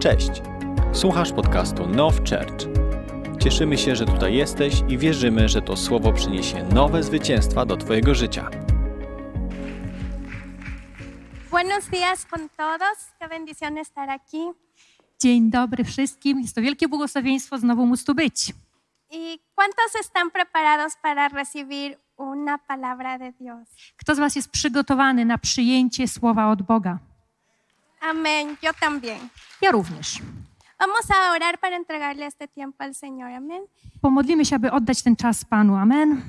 Cześć! Słuchasz podcastu Now Church. Cieszymy się, że tutaj jesteś i wierzymy, że to słowo przyniesie nowe zwycięstwa do Twojego życia. Buenos días con todos. Qué bendición estar aquí. Dzień dobry wszystkim. Jest to wielkie błogosławieństwo znowu móc tu być. ¿Y cuántos están preparados para recibir una palabra de Dios? Kto z Was jest przygotowany na przyjęcie słowa od Boga? Amén. Yo también. Ja również. Vamos a orar para entregarle este tiempo al Señor. Amén. Pomodlimy się, aby oddać ten czas Panu. Amen.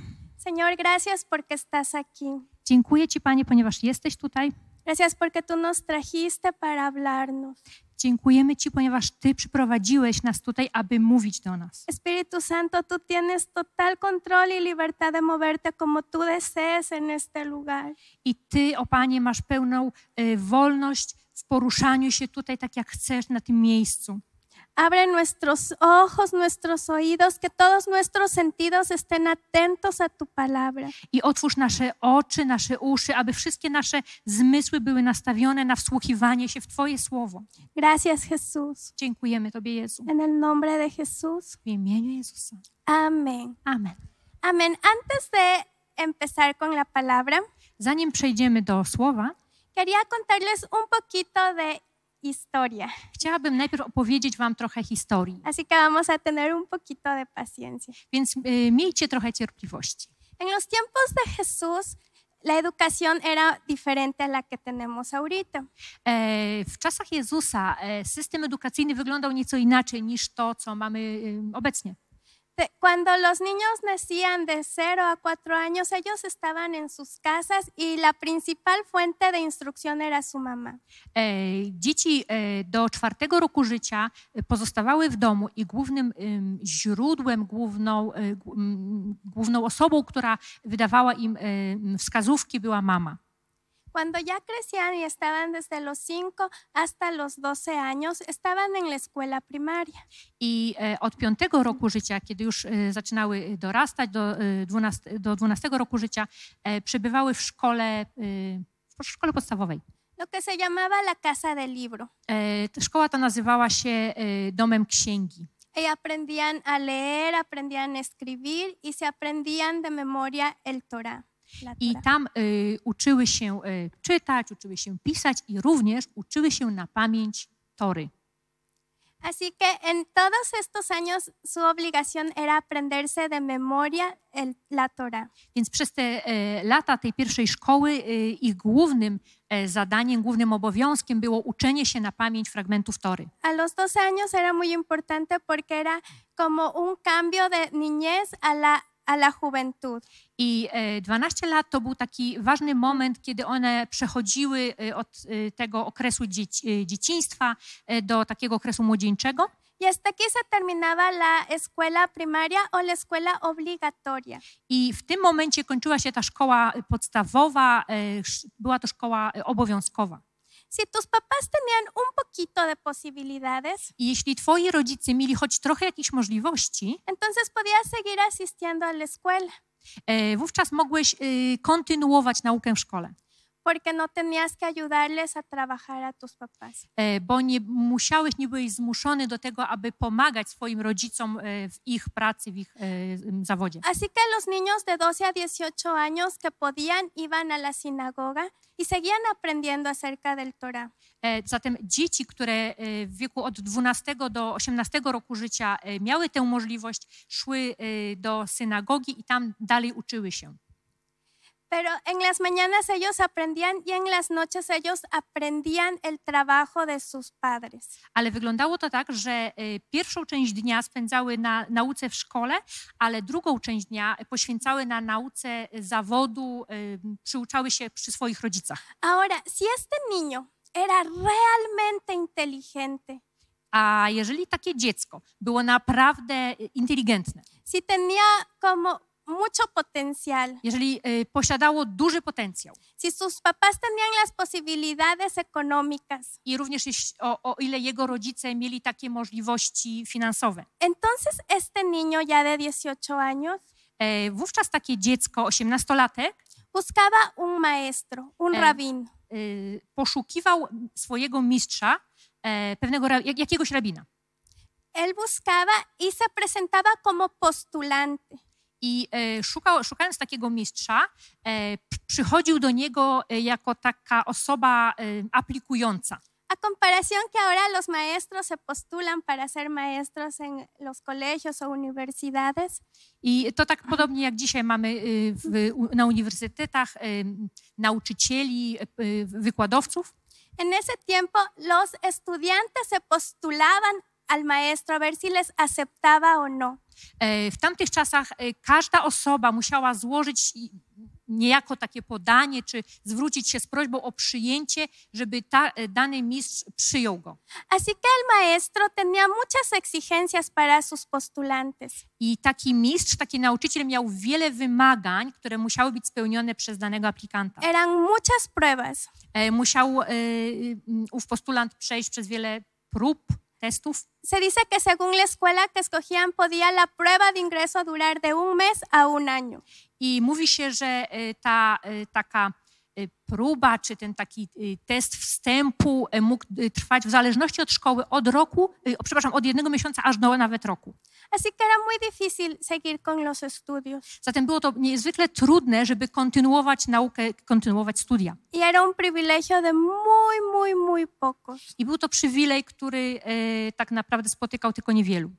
Señor, gracias porque estás aquí. Dziękuję Ci, Panie, ponieważ jesteś tutaj. Gracias porque tú nos trajiste para hablarnos. Dziękujemy Ci, ponieważ Ty przyprowadziłeś nas tutaj, aby mówić do nas. Espíritu Santo, tú tienes total control y libertad de moverte como tú desees en este lugar. I Ty, o Panie, masz pełną y, wolność w poruszaniu się tutaj tak, jak chcesz na tym miejscu. Abre nuestros ojos, nuestros oídos, que todos nuestros sentidos estén atentos a tu palabra. I otwórz nasze oczy, nasze uszy, aby wszystkie nasze zmysły były nastawione na wsłuchiwanie się w Twoje słowo. Gracias Jesús. Dziękujemy Tobie, Jezu. En el nombre de Jesús. W imieniu Jezusa. Amén. Amen. Amén. Antes de empezar con la palabra, Zanim przejdziemy do słowa, quería contarles un poquito de historia. chciałabym najpierw opowiedzieć Wam trochę historii, Así que vamos a tener un poquito de paciencia. więc y, miejcie trochę cierpliwości. En los tiempos de Jesús, la educación era diferente a la que tenemos ahorita. E, W czasach Jezusa e, system edukacyjny wyglądał nieco inaczej niż to, co mamy y, obecnie. Te- Cuando los niños nacían de 0 a 4 años, ellos estaban en sus casas y la principal fuente de instrucción era su mamá. E, Dzieci e, do czwartego roku życia e, pozostawały w domu i głównym em, źródłem, główną, e, gł- m, główną osobą, która wydawała im e, m, wskazówki, była mama. Cuando ya crecían y estaban desde los 5 hasta los 12 años, estaban en la escuela primaria. I e, od piątego roku życia, kiedy już e, zaczynały dorastać do, e, 12, do 12 roku życia, e, przebywały w szkole, e, w szkole podstawowej. Lo que se llamaba la casa del libro. E, ta Szkoła ta nazywała się e, Domem Księgi. Y aprendían a leer, aprendían a escribir y se aprendían de memoria el Torah. la I Torah. tam y, uczyły się y, czytać, uczyły się pisać i również uczyły się na pamięć tory. Así que en todos estos años su obligación era aprenderse de memoria el- la Torah. Więc przez te e, lata tej pierwszej szkoły y, ich głównym e, zadaniem, głównym obowiązkiem było uczenie się na pamięć fragmentów tory. A los 12 años era muy importante porque era como un cambio de niñez a la, a la juventud. I e, 12 lat to był taki ważny moment, kiedy one przechodziły e, od e, tego okresu dzieci, e, dzieciństwa e, do takiego okresu młodzieńczego. Y hasta aquí se terminaba la escuela primaria o la escuela obligatoria. I w tym momencie kończyła się ta szkoła podstawowa, e, sz- była to szkoła e, obowiązkowa. Si tus papás tenían un poquito de posibilidades, I jeśli twoi rodzice mieli choć trochę jakichś możliwości, entonces podías seguir asistiendo a la escuela e, wówczas mogłeś e, kontynuować naukę w szkole, porque no tenías que ayudarles a trabajar a tus papás. e, bo nie musiałeś, nie byłeś zmuszony do tego, aby pomagać swoim rodzicom e, w ich pracy, w ich e, m, zawodzie. Así que los niños de 12 a 18 años que podían iban a la sinagoga y seguían aprendiendo acerca del Torah. E, Zatem dzieci, które e, w wieku od 12 do 18 roku życia e, miały tę możliwość, szły e, do synagogi i tam dalej uczyły się. Pero en las mañanas ellos aprendían y en las noches ellos aprendían el trabajo de sus padres. Ale wyglądało to tak, że y, pierwszą część dnia spędzały na nauce w szkole, ale drugą część dnia poświęcały na nauce zawodu, y, przyuczały się przy swoich rodzicach. Ahora, si este niño era realmente inteligente, A jeżeli takie dziecko było naprawdę y, inteligentne, si tenía como mucho potencial, jeżeli y, posiadało duży potencjał si sus papás tenían las posibilidades económicas, i również jeś- o, o ile jego rodzice mieli takie możliwości finansowe, entonces este niño ya de 18 años y, wówczas takie dziecko, 18-latek, buscaba un maestro, un Eh. rabino. y, poszukiwał swojego mistrza, e, pewnego, ra- jak- jakiegoś rabina. Él buscaba y se presentaba como postulante. I e, szukał, szukając takiego mistrza, e, p- przychodził do niego e, jako taka osoba e, aplikująca. A comparación que ahora los maestros se postulan para ser maestros en los colegios o universidades, I to tak podobnie jak dzisiaj mamy y, w, u- na uniwersytetach y, nauczycieli, y, wykładowców. en ese tiempo los estudiantes se postulaban al maestro a ver si les aceptaba o no. E, W tamtych czasach e, każda osoba musiała złożyć i- niejako takie podanie, czy zwrócić się z prośbą o przyjęcie, żeby ta, e, dany mistrz przyjął go. Así que el maestro tenía muchas exigencias para sus postulantes. I taki mistrz, taki nauczyciel miał wiele wymagań, które musiały być spełnione przez danego aplikanta. Eran muchas pruebas. E, Musiał e, m, ów postulant przejść przez wiele prób, testów. Se dice que según la escuela que escogían podía la prueba de ingreso durar de un mes a un año. I mówi się, że e, ta e, taka e, próba, czy ten taki e, test wstępu e, mógł e, trwać w zależności od szkoły od roku, e, o, przepraszam, od jednego miesiąca aż do nawet roku. Así que era muy difícil seguir con los estudios Zatem było to niezwykle trudne, żeby kontynuować naukę, kontynuować studia. y era un privilegio de muy, muy, muy pocos. I był to przywilej, który e, tak naprawdę spotykał tylko niewielu.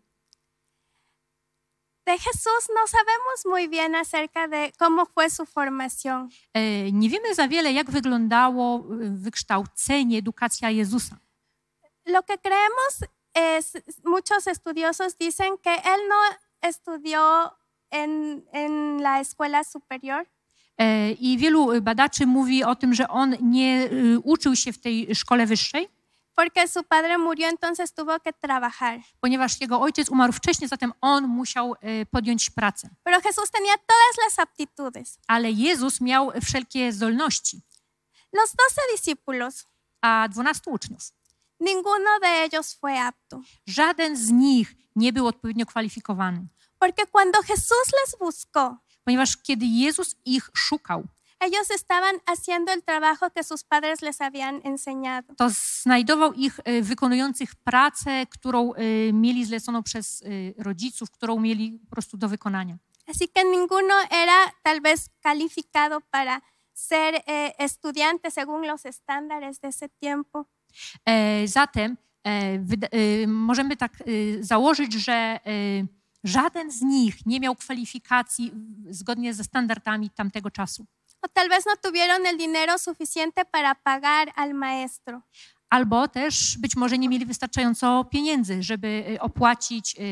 De Jesús no sabemos muy bien acerca de cómo fue su formación. E, nie wiemy za wiele, jak wyglądało e, wykształcenie, edukacja Jezusa. Lo que creemos es, muchos estudiosos dicen que él no estudió en, en la escuela superior, E, I wielu badaczy mówi o tym, że on nie y, uczył się w tej szkole wyższej, porque su padre murió, entonces tuvo que trabajar. ponieważ jego ojciec umarł wcześniej, zatem on musiał e, podjąć pracę. Pero Jesús tenía todas las aptitudes. Ale Jezus miał wszelkie zdolności, Los doce discípulos, a 12 uczniów. ninguno de ellos fue apto, Żaden z nich nie był odpowiednio kwalifikowany, porque cuando Jesús les buscó, ponieważ kiedy Jezus ich szukał, ellos estaban haciendo el trabajo que sus padres les habían enseñado. to znajdował ich e, wykonujących pracę, którą e, mieli zleconą przez e, rodziców, którą mieli po prostu do wykonania. Así que ninguno era tal vez calificado para ser eh, estudiante según los estándares de ese tiempo. E, Zatem e, wyda- e, możemy tak e, założyć, że e, żaden z nich nie miał kwalifikacji zgodnie ze standardami tamtego czasu. O tal vez no tuvieron el dinero suficiente para pagar al maestro. Albo też być może nie mieli wystarczająco pieniędzy, żeby e, opłacić e,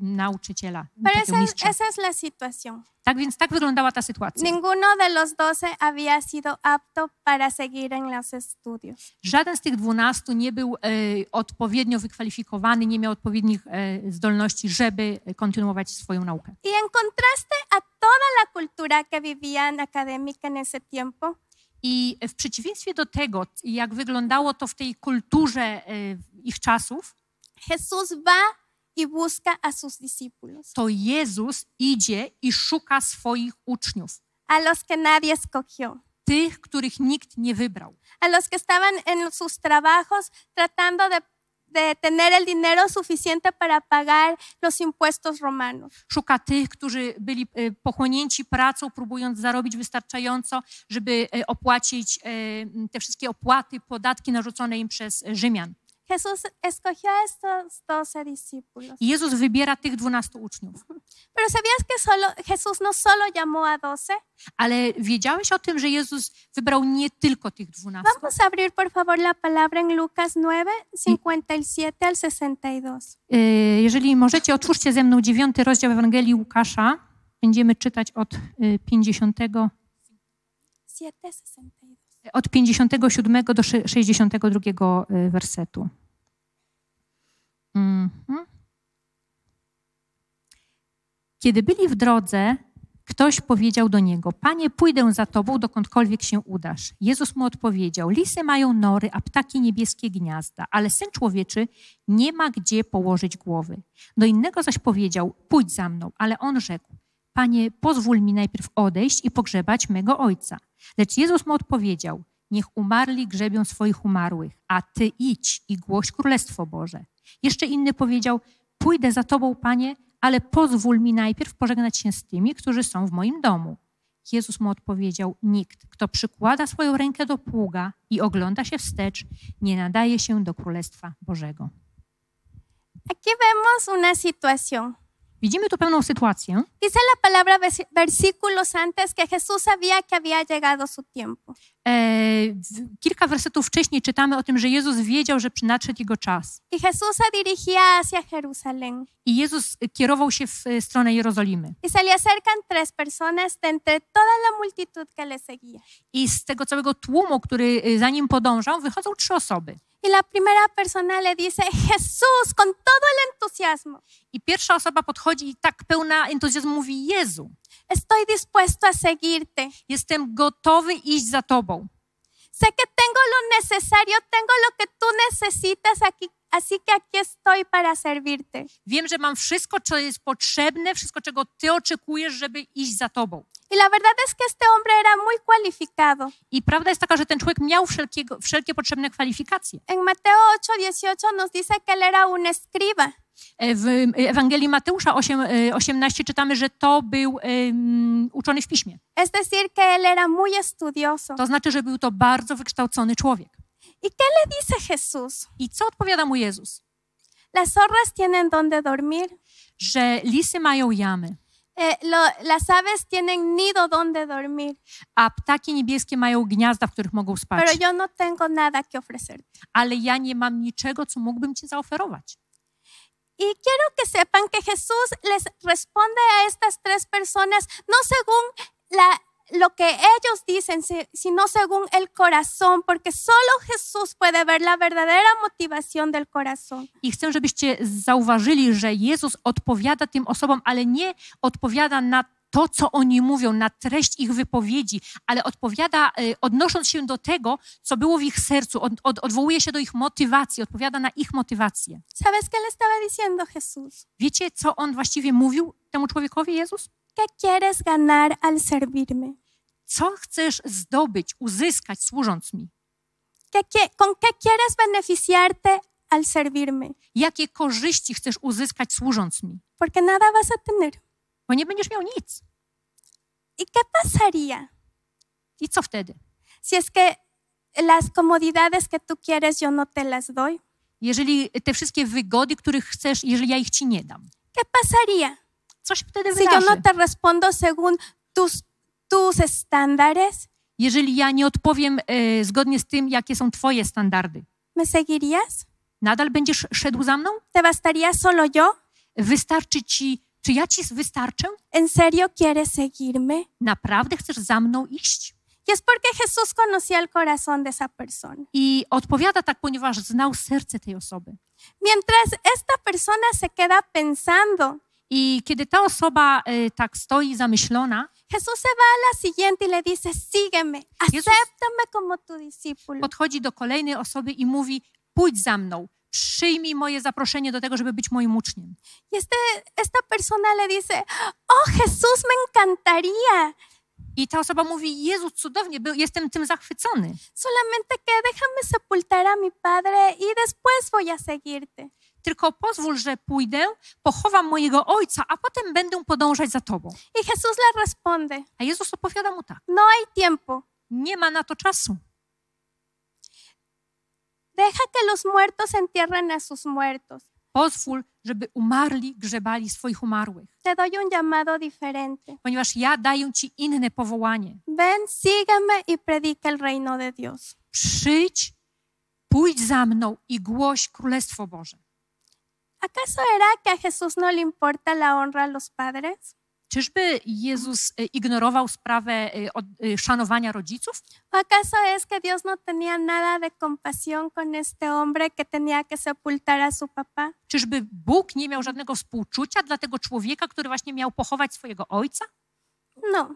nauczyciela, Pero takiego esa es- mistrza. esa es la situación. Tak więc tak wyglądała ta sytuacja. Ninguno de los doce había sido apto para seguir en los estudios. Żaden z tych dwunastu nie był e, odpowiednio wykwalifikowany, nie miał odpowiednich e, zdolności, żeby kontynuować swoją naukę. Y en contraste a toda la cultura que vivían académica en ese tiempo, I w przeciwieństwie do tego, jak wyglądało to w tej kulturze e, ich czasów, Jesús va y busca a sus discípulos, to Jezus idzie i szuka swoich uczniów, a los que nadie escogió, tych, których nikt nie wybrał, a los que estaban en sus trabajos tratando de, de tener el dinero suficiente para pagar los impuestos romanos. szuka tych, którzy byli e, pochłonięci pracą, próbując zarobić wystarczająco, żeby e, opłacić e, m, te wszystkie opłaty, podatki narzucone im przez Rzymian. Jesús escogió a estos doce discípulos, I Jezus wybiera tych dwunastu uczniów. pero ¿sabías que solo, Jesús no solo llamó a doce? Ale wiedziałeś o tym, że Jezus wybrał nie tylko tych dwunastu? Vamos a abrir, por favor, la palabra en Lucas 9, 57 al 62. Y, Jeżeli możecie, otwórzcie ze mną dziewiąty rozdział Ewangelii Łukasza. Będziemy czytać od y, 50, 7, 62. od 57 do sze- 62 y, wersetu. Mhm. Kiedy byli w drodze, ktoś powiedział do niego: Panie, pójdę za tobą, dokądkolwiek się udasz. Jezus mu odpowiedział: Lisy mają nory, a ptaki niebieskie gniazda, ale syn człowieczy nie ma gdzie położyć głowy. Do innego zaś powiedział: Pójdź za mną, ale on rzekł: Panie, pozwól mi najpierw odejść i pogrzebać mego ojca. Lecz Jezus mu odpowiedział: Niech umarli grzebią swoich umarłych, a ty idź i głoś Królestwo Boże. Jeszcze inny powiedział: Pójdę za tobą, panie, ale pozwól mi najpierw pożegnać się z tymi, którzy są w moim domu. Jezus mu odpowiedział: Nikt, kto przykłada swoją rękę do pługa i ogląda się wstecz, nie nadaje się do Królestwa Bożego. Aquí vemos una situación. Widzimy tu pewną sytuację. Dice la palabra vers- versículos antes que Jesús sabía que había llegado su tiempo. E, w- kilka wersetów wcześniej czytamy o tym, że Jezus wiedział, że nadszedł jego czas. Y Jesús se dirigía hacia Jerusalén. I Jezus y, kierował się w e, stronę Jerozolimy. Y se le acercan tres personas de entre toda la multitud que le seguía. I z tego całego tłumu, który e, za nim podążał, wychodzą trzy osoby. Y la primera persona le dice, Jesús, con todo el entusiasmo, I pierwsza osoba podchodzi i tak pełna entuzjazmu mówi: Jezu, estoy dispuesto a seguirte. jestem gotowy iść za tobą. Sé que tengo lo necesario, tengo lo que tú necesitas aquí, así que aquí estoy para servirte. Wiem, że mam wszystko, co jest potrzebne, wszystko, czego ty oczekujesz, żeby iść za tobą. Y la verdad es que este hombre era muy cualificado. I prawda jest taka, że ten człowiek miał wszelkiego, wszelkie potrzebne kwalifikacje. En Mateo 8, 18 nos dice que él era un escriba. E, W e, Ewangelii Mateusza 8, e, 18 czytamy, że to był em, uczony w piśmie. Es decir, que él era muy estudioso. To znaczy, że był to bardzo wykształcony człowiek. ¿Y qué le dice Jesús? I co odpowiada mu Jezus? Las zorras tienen donde dormir, Że lisy mają jamy, eh, lo- las aves tienen nido donde dormir, a ptaki niebieskie mają gniazda, w których mogą spać. pero yo no tengo nada que ofrecerte. Ale ja nie mam niczego, co mógłbym ci zaoferować. Y quiero que sepan que Jesús les responde a estas tres personas no según la- lo que ellos dicen, si- sino según el corazón, porque solo Jesús puede ver la verdadera motivación del corazón. I chcę, żebyście zauważyli, że Jezus odpowiada tym osobom, ale nie odpowiada na to, co oni mówią, na treść ich wypowiedzi, ale odpowiada, y, odnosząc się do tego, co było w ich sercu, od, od, odwołuje się do ich motywacji, odpowiada na ich motywację. ¿Sabes qué le estaba diciendo Jesús? Wiecie, co on właściwie mówił temu człowiekowi, Jezus? ¿Qué quieres ganar al servirme? Co chcesz zdobyć, uzyskać, służąc mi? ¿Qué qui- ¿Con qué quieres beneficiarte al servirme? Jakie korzyści chcesz uzyskać, służąc mi? Porque nada vas a tener. Bo nie będziesz miał nic. ¿Y qué pasaría I co wtedy? si es que las comodidades que tú quieres yo no te las doy? Jeżeli te wszystkie wygody, których chcesz, jeżeli ja ich ci nie dam. ¿Qué pasaría co się wtedy si yo wydarzy? no te respondo según tus, tus estándares? Jeżeli ja nie odpowiem e, zgodnie z tym, jakie są twoje standardy, ¿Me seguirías? nadal będziesz szedł za mną? ¿Te bastaría solo yo? Wystarczy ci, czy ja ci wystarczę? ¿En serio quieres seguirme? Naprawdę chcesz za mną iść? Y es porque Jesús conocía el corazón de esa persona. I odpowiada tak, ponieważ znał serce tej osoby. Mientras esta persona se queda pensando, I kiedy ta osoba e, tak stoi zamyślona, Jesús se va a la siguiente y le dice, sígueme, Jesús- acéptame como tu discípulo. podchodzi do kolejnej osoby i mówi: Pójdź za mną, przyjmij moje zaproszenie do tego, żeby być moim uczniem. Y este, esta persona le dice, oh Jesús, me encantaría, I ta osoba mówi: Jezu, cudownie, by- jestem tym zachwycony. solamente que déjame sepultar a mi padre y después voy a seguirte. tylko pozwól, że pójdę, pochowam mojego ojca, a potem będę podążać za tobą. Y Jesús le responde, A Jezus odpowiada mu tak: no hay tiempo, Nie ma na to czasu. deja que los muertos entierren a sus muertos. Pozwól, żeby umarli grzebali swoich umarłych, Te doy un llamado diferente. ponieważ ja daję ci inne powołanie. Ven, sígueme y predica el reino de Dios. Przyjdź, pójdź za mną i głoś Królestwo Boże. ¿Acaso era que a Jesús no le importa la honra a los padres? Czyżby Jezus e, ignorował sprawę e, od- e, szanowania rodziców? ¿O acaso es que Dios no tenía nada de compasión con este hombre que tenía que sepultar a su papá? Czyżby Bóg nie miał żadnego współczucia dla tego człowieka, który właśnie miał pochować swojego ojca? No.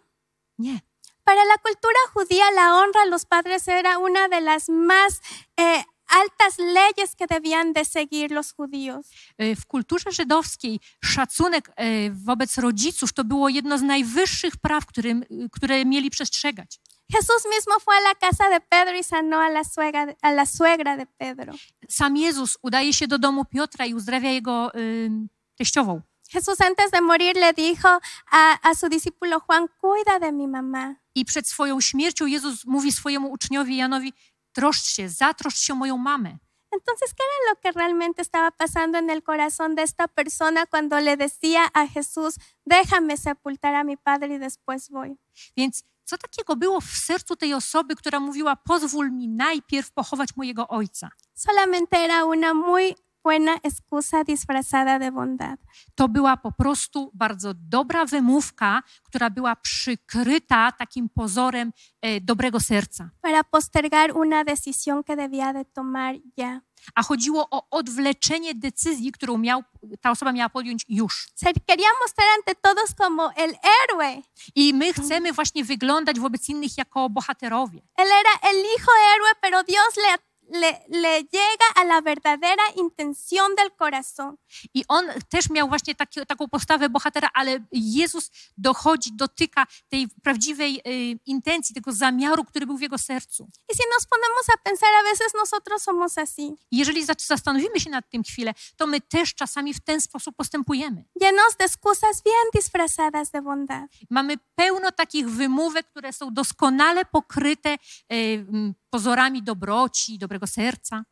Nie. Para la cultura judía, la honra a los padres era una de las más eh, altas leyes que debían de seguir los judíos. E, w kulturze żydowskiej szacunek e, wobec rodziców to było jedno z najwyższych praw, którym, które mieli e, przestrzegać. Jesús mismo fue a la casa de Pedro y sanó a la suegra de, a la suegra de Pedro. Sam Jezus udaje się do domu Piotra i uzdrawia jego y, teściową. Jesús antes de morir le dijo a, a su discípulo Juan, cuida de mi mamá. I przed swoją śmiercią Jezus mówi swojemu uczniowi Janowi, troszcz się, zatroszcz się o moją mamę. Entonces, ¿qué era lo que realmente estaba pasando en el corazón de esta persona cuando le decía a Jesús, déjame sepultar a mi padre y después voy? Więc co takiego było w sercu tej osoby, która mówiła, pozwól mi najpierw pochować mojego ojca? Solamente era una muy buena excusa disfrazada de bondad. To była po prostu bardzo dobra wymówka, która była przykryta takim pozorem e, dobrego serca. para postergar una decisión que debía de tomar ya. A chodziło o odwleczenie decyzji, którą miał, ta osoba miała podjąć już. Se quería mostrar ante todos como el héroe. I my chcemy właśnie wyglądać wobec innych jako bohaterowie. Él era el hijo héroe, pero Dios le, le, le llega a la verdadera intención del corazón. I on też miał właśnie taki, taką postawę bohatera, ale Jezus dochodzi, dotyka tej prawdziwej y, intencji, tego zamiaru, który był w jego sercu. Y si nos ponemos a pensar, a veces nosotros somos así, I jeżeli za- zastanowimy się nad tym chwilę, to my też czasami w ten sposób postępujemy. llenos de excusas bien disfrazadas de bondad. Mamy pełno takich wymówek, które są doskonale pokryte y, mm, pozorami dobroci, dobrego serca.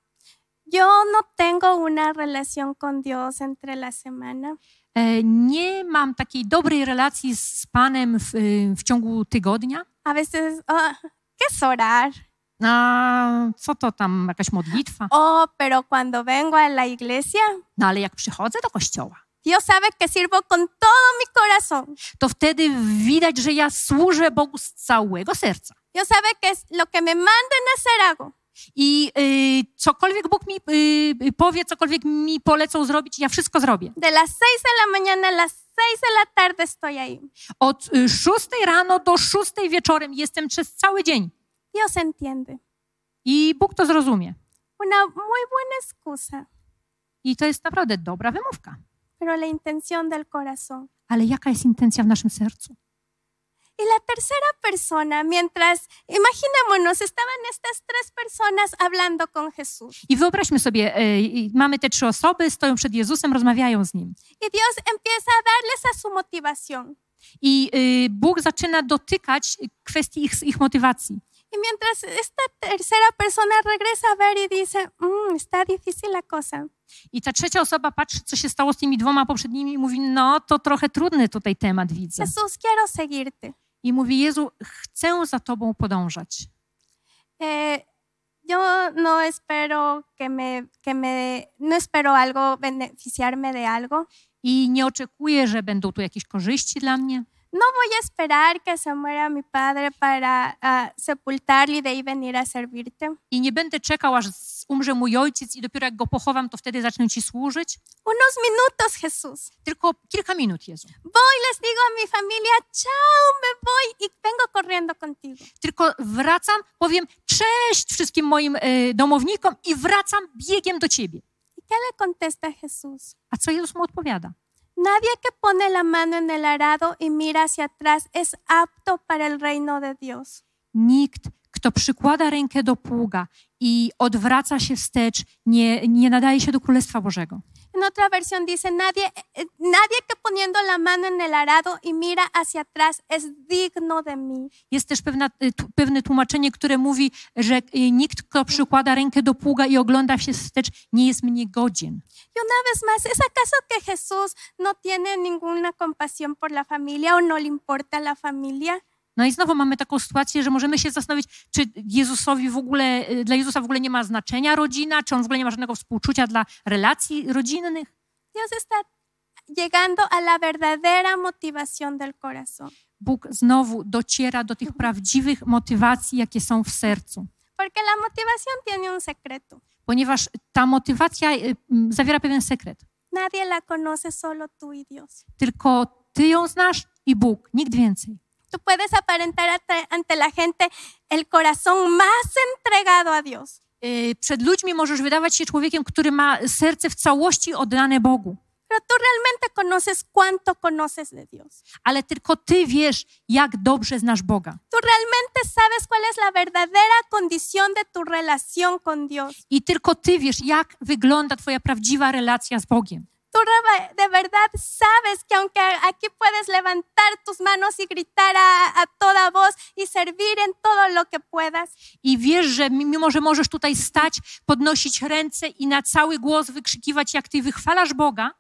Yo no tengo una relación con Dios entre la semana. E, Nie mam takiej dobrej relacji z Panem w, y, w ciągu tygodnia. A veces, ah, ¿qué es orar? A co to tam, jakaś modlitwa? Oh, pero cuando vengo a la iglesia, No ale jak przychodzę do kościoła, Dios sabe que sirvo con todo mi corazón. to wtedy widać, że ja służę Bogu z całego serca. Dios sabe que es lo que me manden a hacer hago. I y, cokolwiek Bóg mi y, powie, cokolwiek mi polecą zrobić, ja wszystko zrobię. De las seis de la mañana a las seis de la tarde estoy ahí. Od y, 6 rano do 6 wieczorem jestem przez cały dzień. Dios entiende. I Bóg to zrozumie. Una muy buena excusa, I to jest naprawdę dobra wymówka. pero la intención del corazón. Ale jaka jest intencja w naszym sercu? Y la tercera persona, mientras, imaginémonos, estaban estas tres personas hablando con Jesús. I wyobraźmy sobie, y, y, mamy te trzy osoby, stoją przed Jezusem, rozmawiają z Nim. Y Dios empieza a darles a su motivación. I y, Bóg zaczyna dotykać kwestii ich, ich motywacji. Y mientras esta tercera persona regresa a ver y dice, "Mm, está difícil la cosa. I ta trzecia osoba patrzy, co się stało z tymi dwoma poprzednimi i mówi, no to trochę trudny tutaj temat widzę. Jesús, quiero seguirte. I mówi, Jezu, chcę za Tobą podążać. Eh, yo no espero que me, que me, no espero algo, beneficiarme de algo. I nie oczekuję, że będą tu jakieś korzyści dla mnie. No voy a esperar que se muera mi padre para ah, sepultarlo y de ahí venir a servirte. I nie będę czekał, aż z- umrze mój ojciec i dopiero jak go pochowam, to wtedy zacznę Ci służyć. Unos minutos, Jesús. Tylko kilka minut, Jezu. Voy, les digo a mi familia, chao, me voy y vengo corriendo contigo. Tylko wracam, powiem cześć wszystkim moim e, domownikom i wracam biegiem do Ciebie. ¿Y qué le contesta Jesús? A co Jezus mu odpowiada? Nadie que pone la mano en el arado y mira hacia atrás es apto para el reino de Dios. Nikt, kto przykłada rękę do pługa i odwraca się wstecz, nie, nie nadaje się do Królestwa Bożego. En otra versión dice, nadie, eh, nadie que poniendo la mano en el arado y mira hacia atrás es digno de mí. Jest też pewna, y, tu- pewne tłumaczenie, które mówi, że y, nikt, kto przykłada rękę do pługa i ogląda się wstecz, nie jest mnie godzien. Y una vez más, ¿es acaso que Jesús no tiene ninguna compasión por la familia o no le importa la familia? No i znowu mamy taką sytuację, że możemy się zastanowić, czy Jezusowi w ogóle, y, dla Jezusa w ogóle nie ma znaczenia rodzina, czy on w ogóle nie ma żadnego współczucia dla relacji rodzinnych. Dios está llegando a la verdadera motivación del corazón. Bóg znowu dociera do tych prawdziwych motywacji, jakie są w sercu. Porque la motivación tiene un secreto. ponieważ ta motywacja y, m, zawiera pewien sekret. Nadie la conoce, solo tú y Dios. Tylko ty ją znasz i Bóg, nikt więcej. Tú puedes aparentar ante- ante la gente el corazón más entregado a Dios. Y, Przed ludźmi możesz wydawać się człowiekiem, który ma serce w całości oddane Bogu, pero tú realmente conoces cuánto conoces de Dios. ale tylko Ty wiesz, jak dobrze znasz Boga. Tú realmente sabes cuál es la verdadera condición de tu relación con Dios. I tylko Ty wiesz, jak wygląda Twoja prawdziwa relacja z Bogiem. Tú re- de verdad sabes que aunque aquí puedes levantar tus manos y gritar a, a toda voz y servir en todo lo que puedas, I wiesz, że mimo, że możesz tutaj stać, podnosić ręce i na cały głos wykrzykiwać, jak Ty wychwalasz Boga,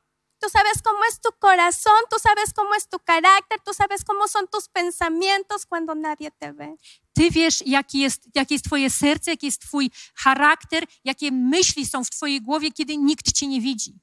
Tú sabes cómo es tu corazón, tú sabes cómo es tu carácter, tú sabes cómo son tus pensamientos cuando nadie te ve. Ty wiesz, jaki jest, jakie jest Twoje serce, jaki jest Twój charakter, jakie myśli są w Twojej głowie, kiedy nikt Cię nie widzi.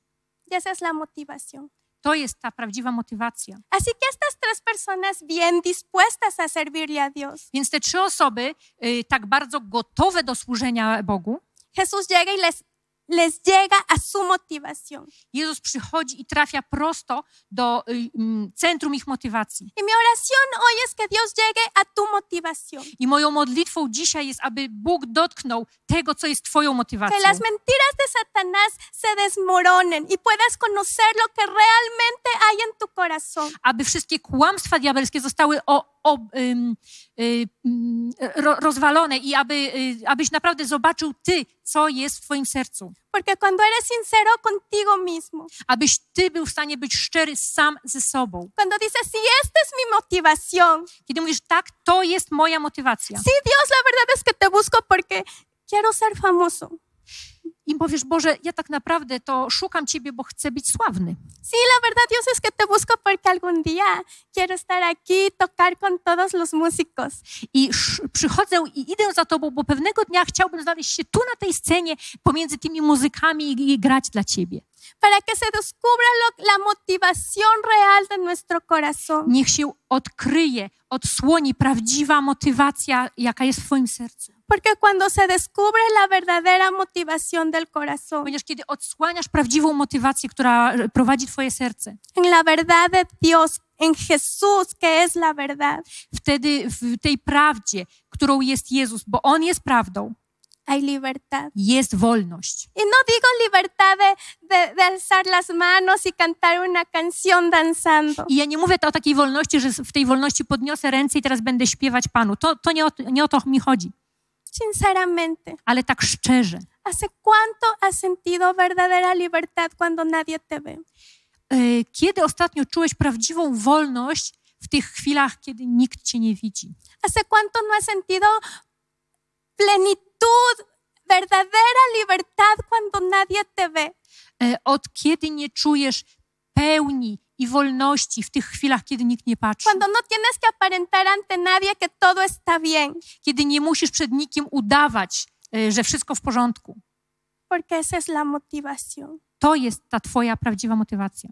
Y esa es la motivación. To jest ta prawdziwa motywacja. Así que estas tres personas bien dispuestas a servirle a Dios. Więc te trzy osoby, y, tak bardzo gotowe do służenia Bogu, Jesús llega y les, les llega a su motivación. Jezus przychodzi i trafia prosto do y, mm, centrum ich motywacji. Y mi oración hoy es que Dios llegue a tu motivación. I moją modlitwą dzisiaj jest, aby Bóg dotknął tego, co jest Twoją motywacją. Que las mentiras de Satanás se desmoronen y puedas conocer lo que realmente hay en tu corazón. Aby wszystkie kłamstwa diabelskie zostały o, o, ym, y, ym, ro, rozwalone i aby, y, abyś naprawdę zobaczył Ty, co jest w Twoim sercu. Porque cuando eres sincero contigo mismo, Abyś Ty był w stanie być szczery sam ze sobą. Cuando dices, sí, esta es mi motivación. Kiedy mówisz, tak, to jest moja motywacja. Sí, Dios, la verdad es que te busco porque quiero ser famoso. I powiesz, Boże, ja tak naprawdę to szukam Ciebie, bo chcę być sławny. Sí, la verdad, Dios, es que te busco porque algún día quiero estar aquí, tocar con todos los músicos. I sz- przychodzę i idę za tobą, bo pewnego dnia chciałbym znaleźć się tu na tej scenie pomiędzy tymi muzykami i, i grać dla ciebie. Para que se descubra lo- la motivación real de nuestro corazón. Niech się odkryje, odsłoni prawdziwa motywacja, jaka jest w twoim sercu. Porque cuando se descubre la verdadera motivación del corazón, Ponieważ kiedy odsłaniasz prawdziwą motywację, która e, prowadzi twoje serce, en la verdad de Dios, en Jesús, que es la verdad, wtedy w tej prawdzie, którą jest Jezus, bo On jest prawdą, hay libertad. jest wolność. Y no digo libertad de, de- de alzar las manos y cantar una canción danzando. I ja nie mówię o takiej wolności, że w tej wolności podniosę ręce i teraz będę śpiewać Panu. To, to nie, o, nie o to mi chodzi, Sinceramente, ale tak szczerze. ¿hace cuánto has sentido verdadera libertad cuando nadie te ve? E, Kiedy ostatnio czułeś prawdziwą wolność w tych chwilach, kiedy nikt cię nie widzi? ¿Hace cuánto no has sentido plenitud, verdadera libertad cuando nadie te ve? E, Od kiedy nie czujesz pełni i wolności w tych chwilach, kiedy nikt nie patrzy? Cuando no tienes que aparentar ante nadie que todo está bien, Kiedy nie musisz przed nikim udawać, e, że wszystko w porządku. porque esa es la motivación. To jest ta twoja prawdziwa motywacja.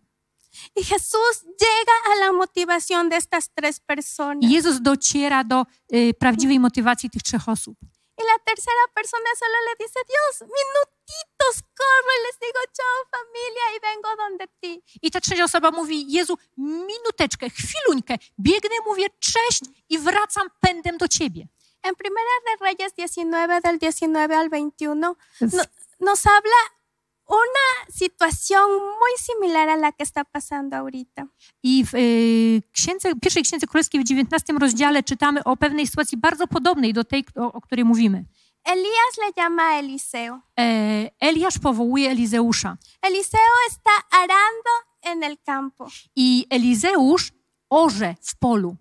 Y Jesús llega a la motivación de estas tres personas. I Jezus dociera do e, prawdziwej motywacji tych trzech osób. Y la tercera persona solo le dice, Dios, minutitos, corro y les digo, chao familia y vengo donde ti. I ta trzecia osoba mówi, Jezu, minuteczkę, chwiluńkę, biegnę, mówię cześć i wracam pędem do Ciebie. En Primera de Reyes 19, del 19 al 21, No, nos habla una situación muy similar a la que está pasando ahorita. I w y, księdze, pierwszej księdze królewskiej w 19 rozdziale czytamy o pewnej sytuacji bardzo podobnej do tej, o, o której mówimy. Elías le llama a Eliseo. E, Eliasz powołuje Elizeusza Eliseo está arando en el campo. i Elizeusz orze w polu.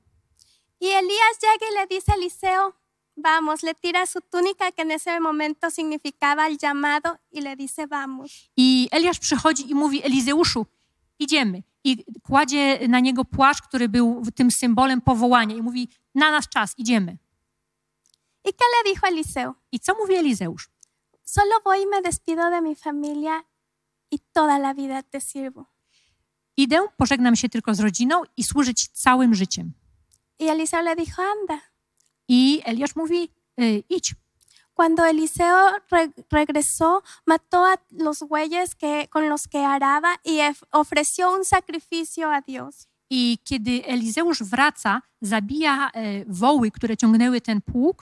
Y Elías llega y le dice a Eliseo, vamos, le tira su túnica que en ese momento significaba el llamado y le dice, vamos. I Eliasz przychodzi i mówi Elizeuszu, idziemy. I kładzie na niego płaszcz, który był tym symbolem powołania i mówi na nas czas, idziemy. ¿Y qué le dijo Eliseo? I co mówi Elizeusz? Solo voy y me despido de mi familia y toda la vida te sirvo. Idę, pożegnam się tylko z rodziną i służyć całym życiem. Y Eliseo le dijo, anda. I Eliasz mówi, y, idź. Cuando Eliseo re- regresó, mató a los bueyes que, con los que araba y ef- ofreció un sacrificio a Dios. I kiedy Elizeusz wraca, zabija e, woły, które ciągnęły ten pług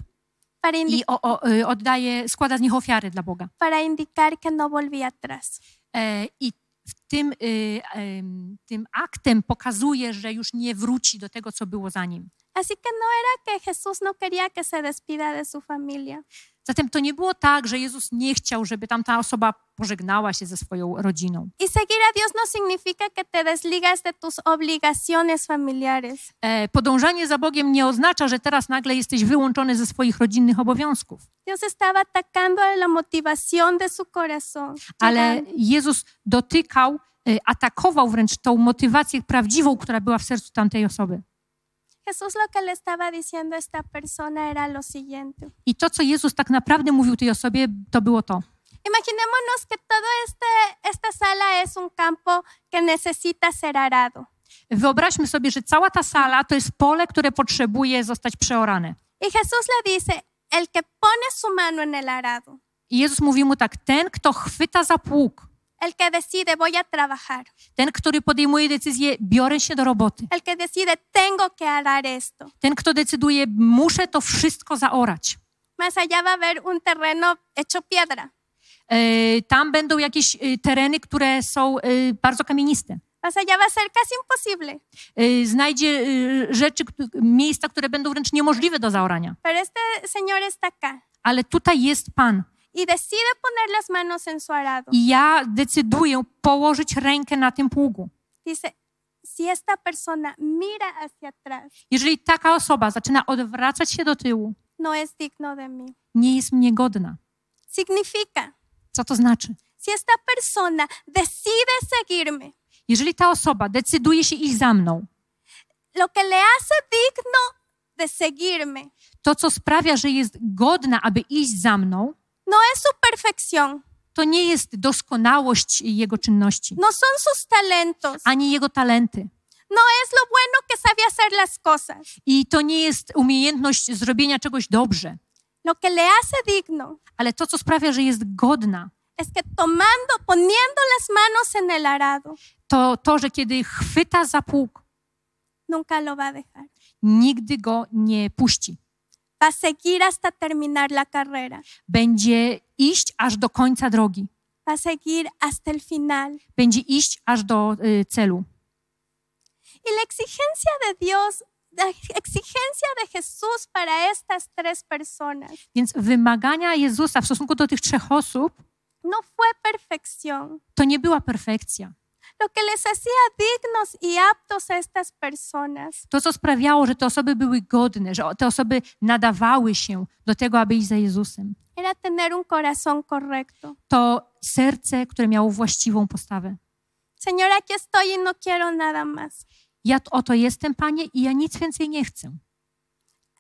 Para, indi- i o, o, e, oddaje, składa z nich ofiary dla Boga. para indicar que no volvía atrás. E, I w tym, y, em, tym aktem pokazuje, że już nie wróci do tego, co było za nim. Así que no era que Jesús no quería que se despida de su familia. Zatem to nie było tak, że Jezus nie chciał, żeby tamta osoba pożegnała się ze swoją rodziną. Y seguir a Dios no significa que te desligas de tus obligaciones familiares. E, Podążanie za Bogiem nie oznacza, że teraz nagle jesteś wyłączony ze swoich rodzinnych obowiązków, Dios estaba atacando a la motivación de su corazón. ale Jezus dotykał, e, atakował wręcz tą motywację prawdziwą, która była w sercu tamtej osoby. Jesús lo que le estaba diciendo a esta persona era lo siguiente. I to, co Jezus tak naprawdę mówił tej osobie, to było to. Imaginémonos que toda este, esta sala es un campo que necesita ser arado. Wyobraźmy sobie, że cała ta sala to jest pole, które potrzebuje zostać przeorane. Y Jesús le dice, el que pone su mano en el arado, I Jezus mówi mu tak: ten, kto chwyta za pług, el que decide voy a trabajar, ten, który podejmuje decyzję, biorę się do roboty, el que decide tengo que arar esto. ten, kto decyduje, muszę to wszystko zaorać. Más allá va a haber un terreno hecho piedra. E, Tam będą jakieś e, tereny, które są e, bardzo kamieniste. Más allá va a ser casi imposible. E, Znajdzie e, rzeczy, kt- miejsca, które będą wręcz niemożliwe do zaorania. Pero este señor está acá Ale tutaj jest Pan y decide poner las manos en su arado. i ja decyduję położyć rękę na tym pługu. Dice, si esta persona mira hacia atrás, Jeżeli taka osoba zaczyna odwracać się do tyłu, no es digno de mí. nie jest mnie godna. Significa, Co to znaczy? si esta persona decide seguirme, Jeżeli ta osoba decyduje się iść za mną, lo que le hace digno de seguirme to co sprawia, że jest godna, aby iść za mną, no es su perfección, to nie jest doskonałość jego czynności, no son sus talentos, ani jego talenty. no es lo bueno que sabe hacer las cosas. I to nie jest umiejętność zrobienia czegoś dobrze, Lo que le hace digno ale to, co sprawia, że jest godna, es que tomando, poniendo las manos en el arado, to to, że kiedy chwyta za pług, nunca lo va a dejar. nigdy go nie puści. Va a seguir hasta terminar la carrera, Będzie iść aż do końca drogi, va a seguir hasta el final. będzie iść aż do y, celu. Y la exigencia de Dios, la exigencia de Jesús para estas tres personas Więc wymagania Jezusa w stosunku do tych trzech osób no fue perfección. to nie była perfekcja. Lo que les hacía dignos y aptos a estas personas To, co sprawiało, że te osoby były godne, że te osoby nadawały się do tego, aby iść za Jezusem, era tener un corazón correcto. to serce, które miało właściwą postawę. Señor, aquí estoy y no quiero nada más. Ja t- oto jestem, Panie, i ja nic więcej nie chcę.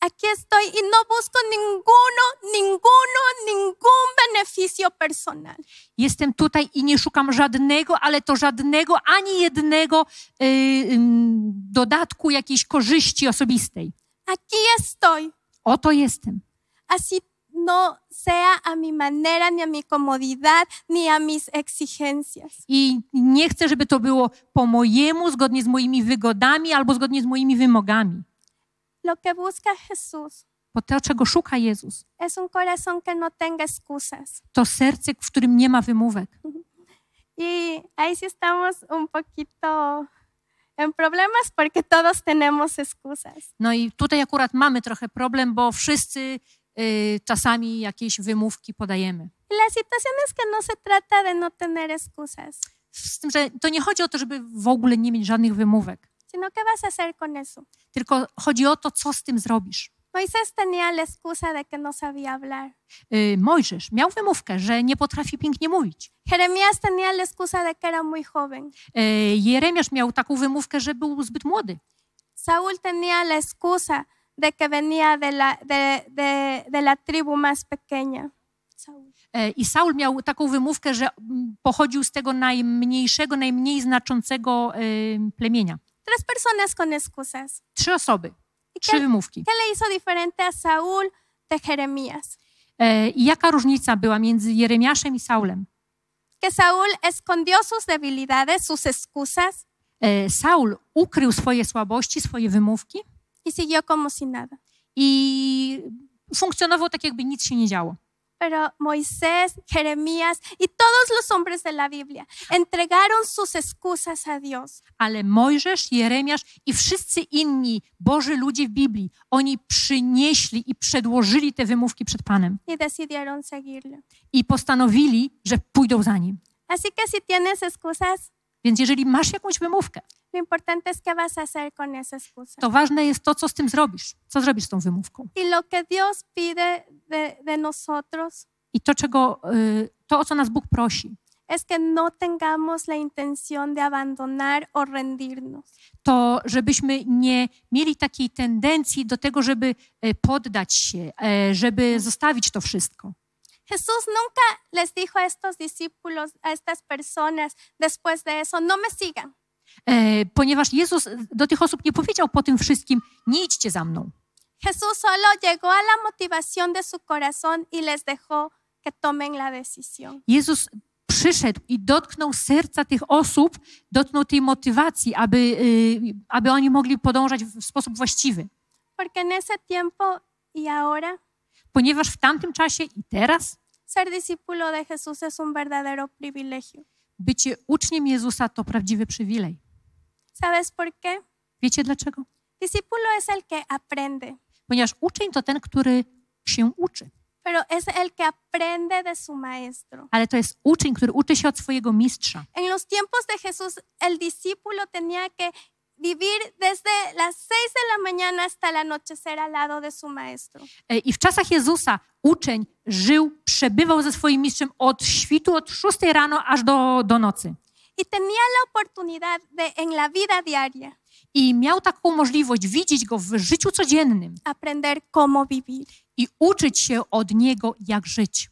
Aquí estoy y no busco ninguno, ninguno, ningún beneficio personal. Jestem tutaj i nie szukam żadnego, ale to żadnego, ani jednego y, ym, dodatku jakiejś korzyści osobistej. Aquí estoy. Oto jestem. Así no sea a mi manera, ni a mi comodidad, ni a mis exigencias. I nie chcę, żeby to było po mojemu, zgodnie z moimi wygodami albo zgodnie z moimi wymogami. Lo que busca Jesús Bo to, czego szuka Jezus, es un corazón que no tenga excusas. to serce, w którym nie ma wymówek. Y ahí sí estamos un poquito en problemas porque todos tenemos excusas. No i tutaj akurat mamy trochę problem, bo wszyscy y, czasami jakieś wymówki podajemy. Y la situación es que no se trata de no tener excusas, Z tym, że to nie chodzi o to, żeby w ogóle nie mieć żadnych wymówek, sino qué vas a hacer con eso. tylko chodzi o to, co z tym zrobisz. Moisés tenía la excusa de que no sabía hablar. Y, Mojżesz miał wymówkę, że nie potrafi pięknie mówić. Jeremías tenía la excusa de que era muy joven. Y, Jeremiasz miał taką wymówkę, że był zbyt młody. Saúl tenía la excusa de que venía de la, de, de- de la tribu más pequeña. Saúl. E, I Saul miał taką wymówkę, że mm, pochodził z tego najmniejszego, najmniej znaczącego em, plemienia. Tres personas con excusas. Trzy osoby, ¿Y trzy qué, wymówki. qué le hizo diferente a Saúl de Jeremías? E, I jaka różnica była między Jeremiaszem i Saulem? Que Saúl escondió sus debilidades, sus excusas E, Saul ukrył swoje słabości, swoje wymówki y siguió como si nada. i funkcjonował tak, jakby nic się nie działo. pero Moisés, Jeremías y todos los hombres de la Biblia entregaron sus excusas a Dios. Ale Mojżesz, Jeremiasz i wszyscy inni Boży ludzie w Biblii, oni przynieśli i przedłożyli te wymówki przed Panem y decidieron seguirlo. i postanowili, że pójdą za Nim. Así que si tienes excusas, Więc jeżeli masz jakąś wymówkę, lo importante es qué vas a hacer con esa excusa. to ważne jest to, co z tym zrobisz. Co zrobisz z tą wymówką. Y lo que Dios pide de, de nosotros I to, czego, y, to, o co nas Bóg prosi, es que no tengamos la intención de abandonar o rendirnos. to żebyśmy nie mieli takiej tendencji do tego, żeby e, poddać się, e, żeby zostawić to wszystko. Jesús nunca les dijo a estos discípulos, a estas personas, después de eso, no me sigan. E, Ponieważ Jezus do tych osób nie powiedział po tym wszystkim, nie idźcie za mną. Jesús solo llegó a la motivación de su corazón y les dejó que tomen la decisión. Jezus przyszedł i dotknął serca tych osób, dotknął tej motywacji, aby, y, aby oni mogli podążać w sposób właściwy. Porque en ese tiempo y ahora, Ponieważ w tamtym czasie i teraz ser discípulo de Jesús es un verdadero privilegio. bycie uczniem Jezusa to prawdziwy przywilej. ¿Sabes por qué? Wiecie dlaczego? Discípulo es el que aprende, Ponieważ uczeń to ten, który się uczy. pero es el que aprende de su maestro. ale to jest uczeń, który uczy się od swojego mistrza. En los tiempos de Jesús, el discípulo tenía que vivir desde las seis de la mañana hasta el anochecer al lado de su maestro. E, I w czasach Jezusa uczeń żył, przebywał ze swoim mistrzem od świtu, od 6 rano aż do, do nocy. Y tenía la oportunidad de, en la vida diaria, I miał taką możliwość widzieć go w życiu codziennym aprender cómo vivir. i uczyć się od niego, jak żyć.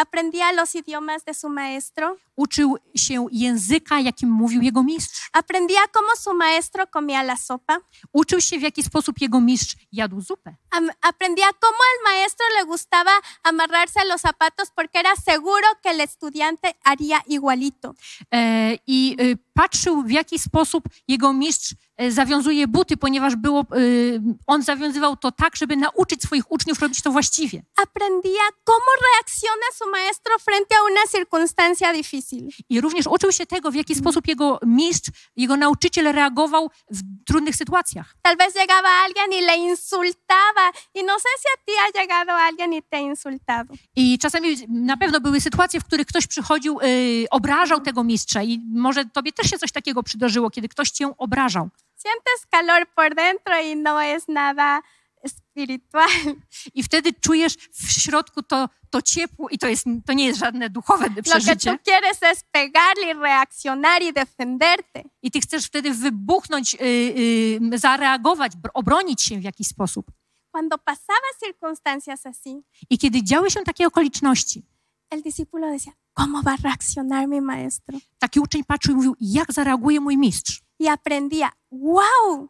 Aprendía los idiomas de su maestro, Uczył się języka, jakim mówił jego mistrz. aprendía cómo su maestro comía la sopa, Uczył się, w jaki sposób jego mistrz jadł zupę. Am- aprendía cómo al maestro le gustaba amarrarse a los zapatos porque era seguro que el estudiante haría igualito. E, I e, patrzył, w jaki sposób jego mistrz e, zawiązuje buty, ponieważ było, e, on zawiązywał to tak, żeby nauczyć swoich uczniów robić to właściwie. Aprendía cómo reacciona su maestro frente a una circunstancia difícil. I również uczył się tego, w jaki sposób jego mistrz, jego nauczyciel reagował w trudnych sytuacjach. Tal vez llegaba alguien y le insultaba. Y no sé si a ti ha llegado alguien y te ha insultado. I czasami na pewno były sytuacje, w których ktoś przychodził, e, obrażał tego mistrza i może tobie też się coś takiego przydarzyło, kiedy ktoś cię obrażał. Sientes calor por dentro y no es nada espiritual. I wtedy czujesz w środku to, to ciepło i to, jest, to nie jest żadne duchowe Lo que przeżycie. tú quieres es pegarle y reaccionar y defenderte. I ty chcesz wtedy wybuchnąć, y, y, zareagować, br- obronić się w jakiś sposób. Cuando pasaba circunstancias así, I kiedy działy się takie okoliczności, el discípulo decía, ¿cómo va a reaccionar mi maestro? taki uczeń patrzył i mówił, jak zareaguje mój mistrz. Y aprendía, wow,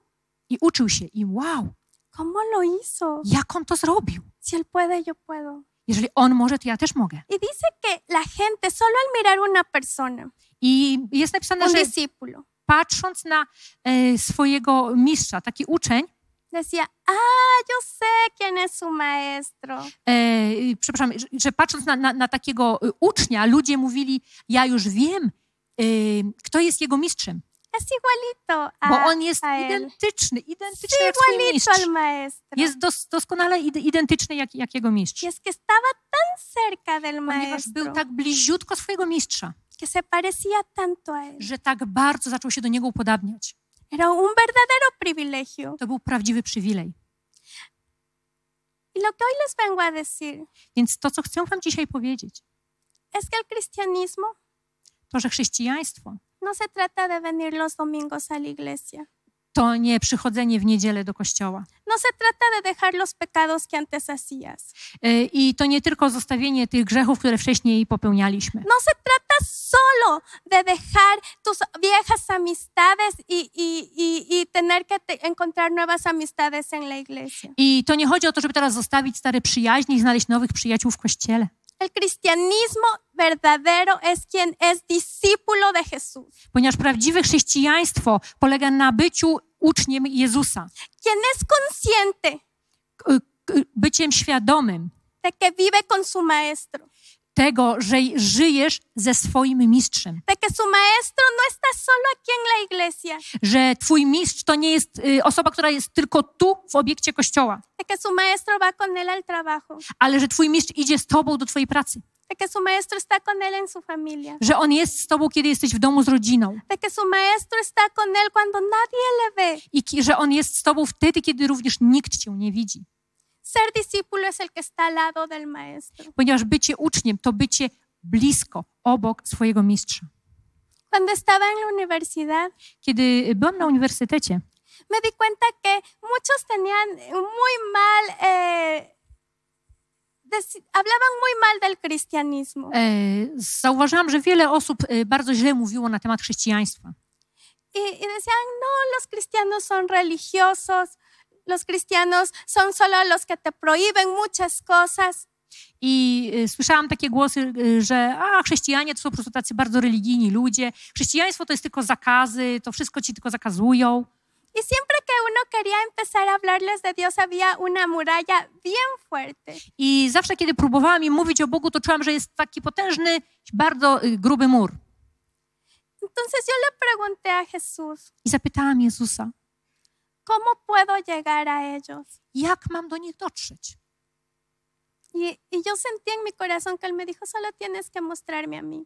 I uczył się i wow, ¿cómo lo hizo? jak on to zrobił. Si él puede, yo puedo. Jeżeli on może, to ja też mogę. Y dice que la gente, solo al mirar una persona, I jest napisane, un że discípulo, patrząc na e, swojego mistrza, taki uczeń, decía, ah, yo sé quién es su maestro. e, przepraszam, że, że patrząc na, na, na takiego e, ucznia, ludzie mówili, ja już wiem, e, kto jest jego mistrzem. Es igualito a, Bo on jest a él. identyczny, identyczny jak swój Igualito mistrz. al maestro. Jest dos, doskonale ide- identyczny jak, jak jego mistrz. Y es que estaba tan cerca del Ponieważ maestro, był tak bliziutko swojego mistrza, que se parecía tanto a él. że tak bardzo zaczął się do niego upodabniać. Era un verdadero privilegio. To był prawdziwy przywilej. Y lo que hoy les vengo a decir Więc to, co chcę wam dzisiaj powiedzieć, es que el cristianismo to, że chrześcijaństwo no se trata de venir los domingos a la iglesia. to nie przychodzenie w niedzielę do kościoła. No se trata de dejar los pecados que antes hacías. Y, I to nie tylko zostawienie tych grzechów, które wcześniej popełnialiśmy. No se trata solo de dejar tus viejas amistades y, y- y- y tener que te- encontrar nuevas amistades en la iglesia. I to nie chodzi o to, żeby teraz zostawić stare przyjaźnie i znaleźć nowych przyjaciół w kościele. El cristianismo verdadero es quien es discípulo de Jesús, Ponieważ prawdziwe chrześcijaństwo polega na byciu uczniem Jezusa, quien es consciente k- k- byciem świadomym de que vive con su maestro, tego, że żyjesz ze swoim mistrzem, de que su maestro no está solo aquí en la iglesia, że twój mistrz to nie jest y, osoba, która jest tylko tu w obiekcie kościoła, de que su maestro va con él al trabajo, ale że twój mistrz idzie z tobą do twojej pracy, de que su maestro está con él en su familia, że on jest z tobą, kiedy jesteś w domu z rodziną de que su maestro está con él cuando nadie le ve. i ki- że on jest z tobą wtedy, kiedy również nikt cię nie widzi. Ser discípulo es el que está al lado del maestro. Ponieważ bycie uczniem to bycie blisko, obok swojego mistrza. Cuando estaba en la universidad, Kiedy y, byłam na uniwersytecie, me di cuenta que muchos tenían muy mal, eh, deci- hablaban muy mal del cristianismo. e, zauważyłam, że wiele osób e, bardzo źle mówiło na temat chrześcijaństwa. Y, y decían, no, los cristianos son religiosos, los cristianos son solo los que te prohíben muchas cosas. I e, słyszałam takie głosy, e, że a, chrześcijanie to są po prostu tacy bardzo religijni ludzie, chrześcijaństwo to jest tylko zakazy, to wszystko ci tylko zakazują. Y siempre que uno quería empezar a hablarles de Dios, había una muralla bien fuerte. I zawsze, kiedy próbowałam im mówić o Bogu, to czułam, że jest taki potężny, bardzo e, gruby mur. Entonces yo le pregunté a Jesús, I zapytałam Jezusa, ¿cómo puedo llegar a ellos? jak mam do nich dotrzeć? Y, y yo sentí en mi corazón que él me dijo, solo tienes que mostrarme a mí.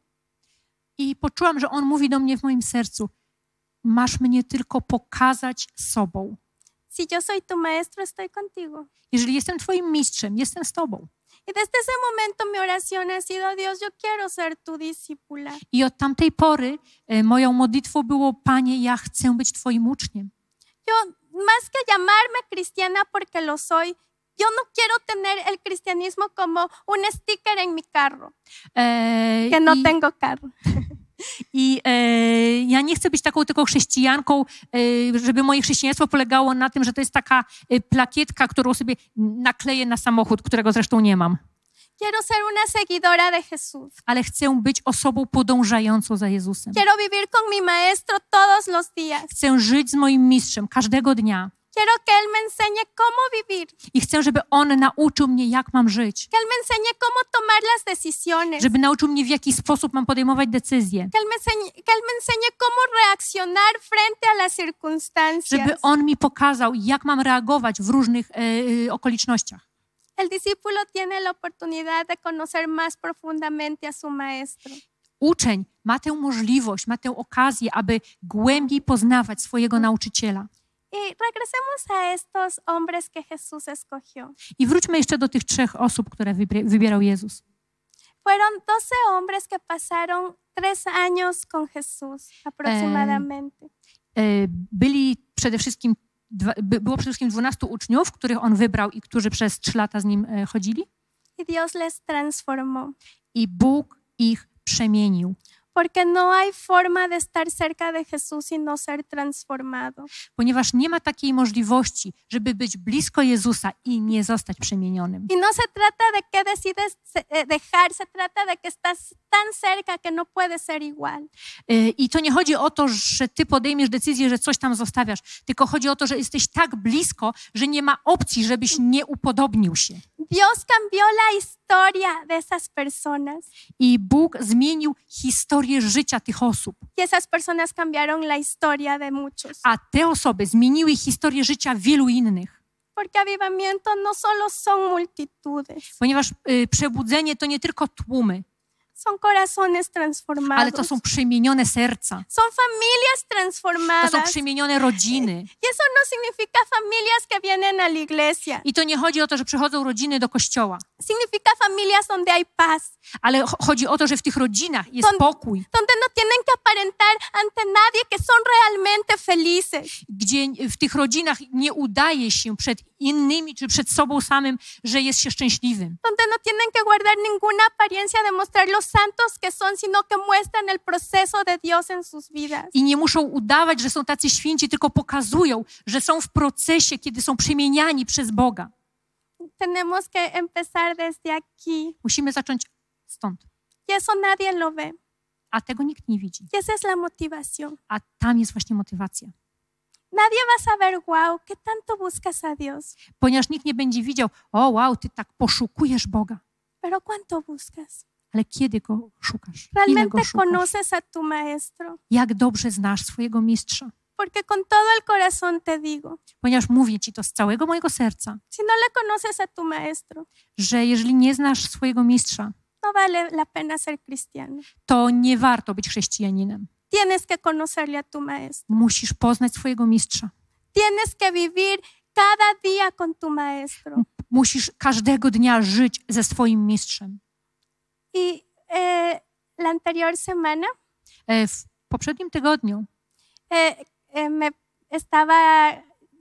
I poczułam, że On mówi do mnie w moim sercu: Masz mnie tylko pokazać sobą. Si yo soy tu maestro, estoy contigo. Jeżeli jestem Twoim mistrzem, jestem z Tobą. Y desde ese momento mi oración ha sido, Dios, yo quiero ser tu discípula. I od tamtej pory e, moją modlitwą było: Panie, ja chcę być Twoim uczniem. Yo, más que llamarme cristiana porque lo soy, yo no quiero tener el cristianismo como un sticker en mi carro, E, que no i, tengo carro. I e, ja nie chcę być taką tylko chrześcijanką, e, żeby moje chrześcijaństwo polegało na tym, że to jest taka e, plakietka, którą sobie nakleję na samochód, którego zresztą nie mam. Quiero ser una seguidora de Jesús. Ale chcę być osobą podążającą za Jezusem. Quiero vivir con mi maestro todos los días. Chcę żyć z moim mistrzem każdego dnia Quiero que Él me enseñe cómo vivir, i chcę, żeby on nauczył mnie, jak mam żyć, que Él me enseñe cómo tomar las decisiones, żeby nauczył mnie, w jaki sposób mam podejmować decyzje, que Él me enseñe, que él me enseñe cómo reaccionar frente a las żeby circunstancias. on mi pokazał, jak mam reagować w różnych e, e, okolicznościach. El discípulo tiene la oportunidad de conocer más profundamente a su maestro. Uczeń ma tę możliwość, ma tę okazję, aby głębiej poznawać swojego nauczyciela. Y regresemos a estos hombres que Jesús escogió. I wróćmy jeszcze do tych trzech osób, które wybie- wybierał Jezus. Fueron 12 hombres que pasaron tres años con Jesús aproximadamente. E, Byli przede wszystkim, dwa- by- było przede wszystkim 12 uczniów, których on wybrał i którzy przez trzy lata z nim e, chodzili. Y Dios les transformó. I Bóg ich przemienił. Porque no hay forma de estar cerca de Jesús y no ser transformado. ponieważ nie ma takiej możliwości, żeby być blisko Jezusa i nie zostać przemienionym. Y no se trata de qué decides eh, dejar, se trata de que estás tan cerca que no puedes ser igual. Y, I to nie chodzi o to, że ty podejmiesz decyzję, że coś tam zostawiasz, tylko chodzi o to, że jesteś tak blisko, że nie ma opcji, żebyś nie upodobnił się. Dios cambió la historia de esas personas I Bóg zmienił historię życia tych osób, y esas personas cambiaron la historia de muchos. a te osoby zmieniły historię życia wielu innych. Porque avivamiento no solo son multitudes, Ponieważ y, przebudzenie to nie tylko tłumy, son corazones ale transformados, to są przemienione serca, son familias to są transformadas. przemienione rodziny. Y eso no significa familias que vienen a la iglesia, I to nie chodzi o to, że przychodzą rodziny do kościoła, significa familias donde hay paz, Ale cho- chodzi o to, że w tych rodzinach jest Są- pokój, donde no tienen que aparentar ante nadie que son realmente felices, gdzie w tych rodzinach nie udaje się przed innymi czy przed sobą samym, że jest się szczęśliwym. donde no tienen que guardar ninguna apariencia de mostrar los santos que son, sino que muestran el proceso de Dios en sus vidas. I nie muszą udawać, że są tacy święci, tylko pokazują, że są w procesie, kiedy są przemieniani przez Boga. Tenemos que empezar desde aquí. Musimy zacząć stąd, Y eso nadie lo ve. a tego nikt nie widzi. Y esa es la motivación. A tam jest właśnie motywacja. Nadie va a saber, wow, qué tanto buscas a Dios, ponieważ nikt nie będzie widział, o wow, ty tak poszukujesz Boga. pero cuánto buscas. Ale kiedy go szukasz? Ile Realmente go szukasz? conoces a tu Maestro, Jak dobrze znasz swojego mistrza? porque con todo el corazón te digo, Ponieważ mówię ci to z całego mojego serca, si no le conoces a tu Maestro, że jeżeli nie znasz swojego mistrza, no vale la pena ser cristiano. to nie warto być chrześcijaninem. Tienes que conocerle a tu Maestro. Musisz poznać swojego mistrza. Tienes que vivir cada día con tu Maestro. Musisz każdego dnia żyć ze swoim mistrzem. Y eh, la anterior semana E, W poprzednim tygodniu eh, eh, me estaba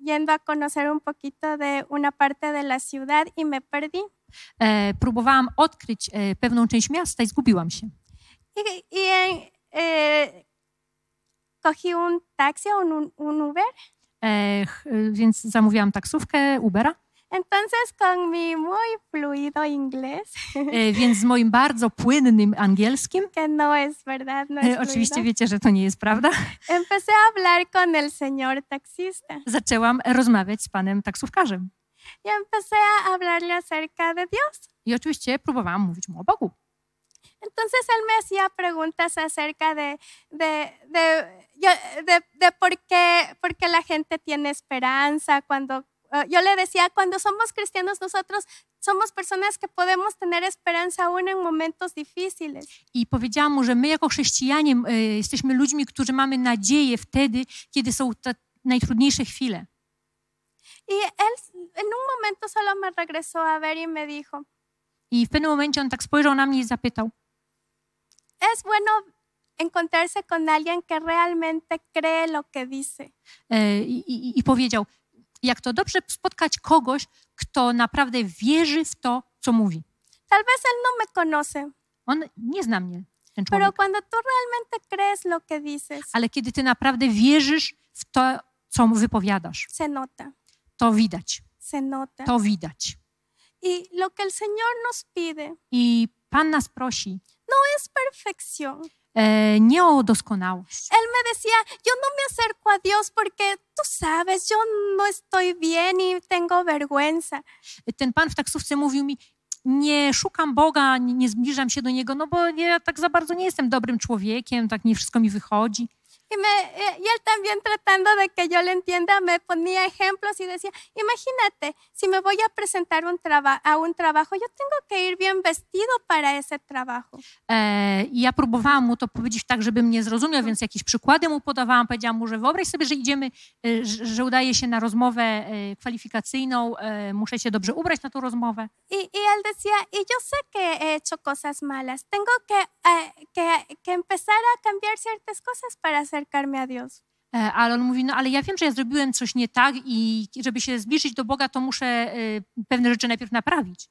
yendo a conocer un poquito de una parte de la ciudad y me perdí. e, próbowałam odkryć e, pewną część miasta i zgubiłam się. Y, y, eh, eh, cogí un taxi o un, un Uber. E, ch- e, Więc zamówiłam taksówkę Ubera, E, Entonces con mi muy fluido inglés, e, więc z moim bardzo płynnym angielskim, que no es verdad, no e, es oczywiście fluido, wiecie, że to nie jest prawda, empecé a hablar con el señor taxista zaczęłam rozmawiać z panem taksówkarzem. y empecé a hablarle acerca de Dios. I oczywiście próbowałam mówić mu o Bogu. Entonces él me hacía preguntas acerca de, de, de- yo- de- de por, qué, por qué la gente tiene esperanza. Cuando, eh, yo le decía, cuando somos cristianos nosotros somos personas que podemos tener esperanza aún en momentos difíciles. I powiedziałam mu, że my jako chrześcijanie e, jesteśmy ludźmi, którzy mamy nadzieję wtedy, kiedy są te najtrudniejsze chwile. Y él en un momento solo me regresó a ver y me dijo, I w pewnym momencie on tak spojrzał na mnie i zapytał, es bueno encontrarse con alguien que realmente cree lo que dice. e, i, i, i powiedział, jak to dobrze spotkać kogoś, kto naprawdę wierzy w to, co mówi. Tal vez él no me conoce, On nie zna mnie, ten pero człowiek. cuando tú realmente crees lo que dices, Ale kiedy ty naprawdę wierzysz w to, co mu wypowiadasz, se nota. to widać, se nota. to widać. Y lo que el Señor nos pide I Pan nas prosi es perfección. e, nie o doskonałość. Él me decía, yo no me acerco a Dios porque tú sabes, yo no estoy bien y tengo vergüenza. Ten Pan w taksówce mówił mi, nie szukam Boga, nie, nie zbliżam się do Niego, no bo ja tak za bardzo nie jestem dobrym człowiekiem, tak nie wszystko mi wychodzi. Y, me, eh, y él también tratando de que yo le entienda, me ponía ejemplos y decía, imagínate, si me voy a presentar un traba- a un trabajo, yo tengo que ir bien vestido para ese trabajo. E, I ja próbowałam mu to powiedzieć tak, żeby mnie zrozumiał, więc jakieś przykłady mu podawałam. Powiedziałam mu, że wyobraź sobie, że idziemy, e, że że udaje się na rozmowę e, kwalifikacyjną, e, muszę się dobrze ubrać na tą rozmowę. Y, y él decía, y yo sé que he hecho cosas malas, tengo que, eh, que, que empezar a cambiar ciertas cosas para acercarme a Dios. E, Ale on mówi, no ale ja wiem, że ja zrobiłem coś nie tak i żeby się zbliżyć do Boga, to muszę e, pewne rzeczy najpierw naprawić.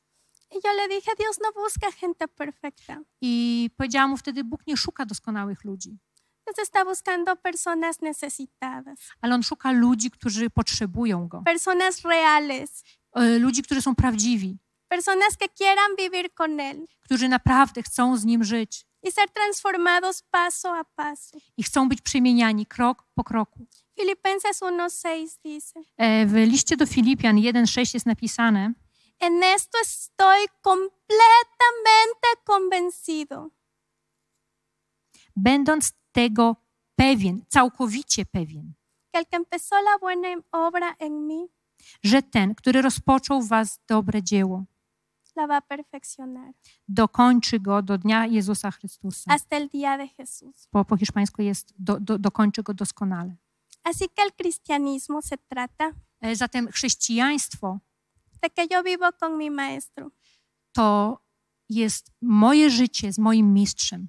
Y yo le dije, Dios no busca gente perfecta. I powiedziałam mu wtedy, Bóg nie szuka doskonałych ludzi, Dios está buscando personas necesitadas, ale On szuka ludzi, którzy potrzebują Go. personas reales, E, Ludzi, którzy są prawdziwi, personas que quieran vivir con Él którzy naprawdę chcą z Nim żyć y ser transformados paso a paso. i chcą być przemieniani krok po kroku. Filipenses 1.6 dice, E, W liście do Filipian 1,6 jest napisane, en esto estoy completamente convencido, będąc tego pewien, całkowicie pewien, que el que empezó la buena obra en mí że ten, który rozpoczął w was dobre dzieło, la va a perfeccionar dokończy go do dnia Jezusa Chrystusa. hasta el día de Jesús. Po, po hiszpańsku jest do, do, dokończy go doskonale. Así que el cristianismo se trata E, Zatem chrześcijaństwo de que yo vivo con mi maestro. to jest moje życie z moim mistrzem.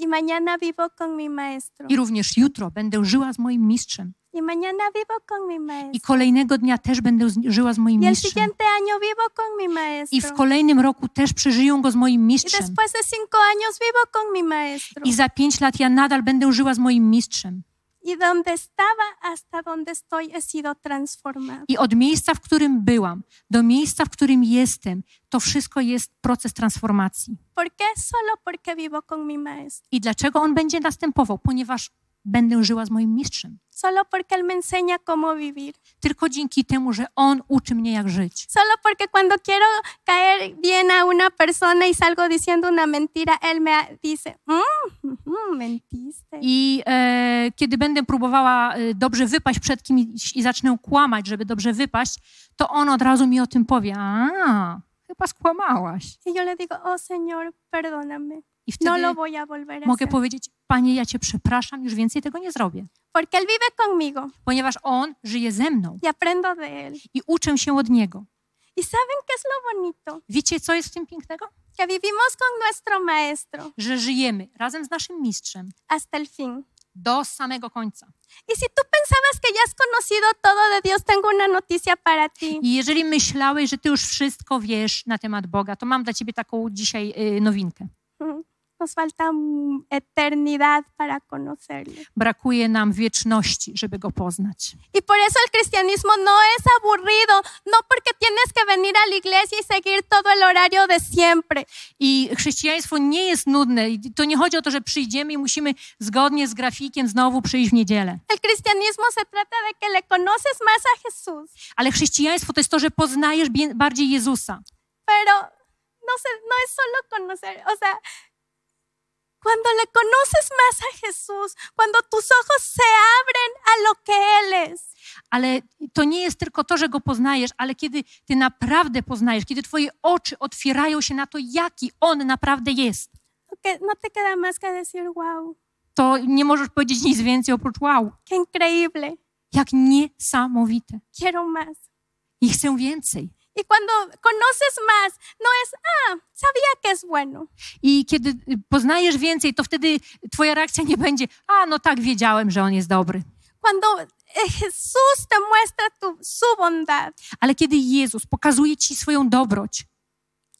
Y mañana vivo con mi maestro. I również jutro będę żyła z moim mistrzem. Y mañana vivo con mi I maestro. kolejnego dnia też będę z- żyła z moim Y el mistrzem. siguiente año vivo con mi I w maestro. kolejnym roku też przeżyję go z moim Y mistrzem. después de cinco años vivo con mi maestro. I za pięć lat ja nadal będę żyła z moim mistrzem. Y donde estaba hasta donde estoy he sido transformado. I od miejsca, w którym byłam, do miejsca, w którym jestem, to wszystko jest proces transformacji. ¿Por qué? Solo porque vivo con mi maestro. I dlaczego on będzie następował? Ponieważ będę żyła z moim mistrzem. solo porque Él me enseña cómo vivir, Tylko dzięki temu, że On uczy mnie, jak żyć. solo porque cuando quiero caer bien a una persona y salgo diciendo una mentira, Él me dice, "Mm, ujú, mentiste. I e, kiedy będę próbowała e, dobrze wypaść przed kimś i zacznę kłamać, żeby dobrze wypaść, to on od razu mi o tym powie. A, chyba skłamałaś. Y yo le digo, oh Señor, perdóname, I wtedy no lo voy a volver a mogę hacer. powiedzieć, panie, ja cię przepraszam, już więcej tego nie zrobię. Porque Él vive conmigo Ponieważ on żyje ze mną y aprendo de Él. i uczę się od niego. ¿Y saben qué es lo bonito? Wiecie, co jest w tym pięknego? Que vivimos con nuestro Maestro Że żyjemy razem z naszym mistrzem hasta el fin. do samego końca. Y si tú pensabas que ya has conocido todo de Dios, tengo una noticia para ti. I jeżeli myślałeś, że ty już wszystko wiesz na temat Boga, to mam dla ciebie taką dzisiaj y, nowinkę. Nos falta mm, eternidad para conocerlo. Brakuje nam wieczności, żeby go poznać. Y por eso el cristianismo no es aburrido, no porque tienes que venir a la iglesia y seguir todo el horario de siempre. I chrześcijaństwo nie jest nudne. I To nie chodzi o to, że przyjdziemy i musimy zgodnie z grafikiem znowu przyjść w niedzielę. El cristianismo se trata de que le conoces más a Jesús, Ale chrześcijaństwo to jest to, że poznajesz bie- bardziej Jezusa. pero no, se, no es solo conocer, o sea, cuando le conoces más a Jesús, cuando tus ojos se abren a lo que Él es. Ale to nie jest tylko to, że go poznajesz, ale kiedy ty naprawdę poznajesz, kiedy twoje oczy otwierają się na to, jaki on naprawdę jest, que no te queda más que decir, wow, to nie możesz powiedzieć nic więcej oprócz wow. qué increíble, Jak niesamowite. quiero más. I chcę więcej. Y cuando conoces más, no es, ah, sabía que es bueno. I kiedy y, poznajesz więcej, to wtedy twoja reakcja nie będzie, a no tak, wiedziałem, że on jest dobry. Cuando eh, Jesús te muestra tu- su bondad, Ale kiedy Jezus pokazuje ci swoją dobroć,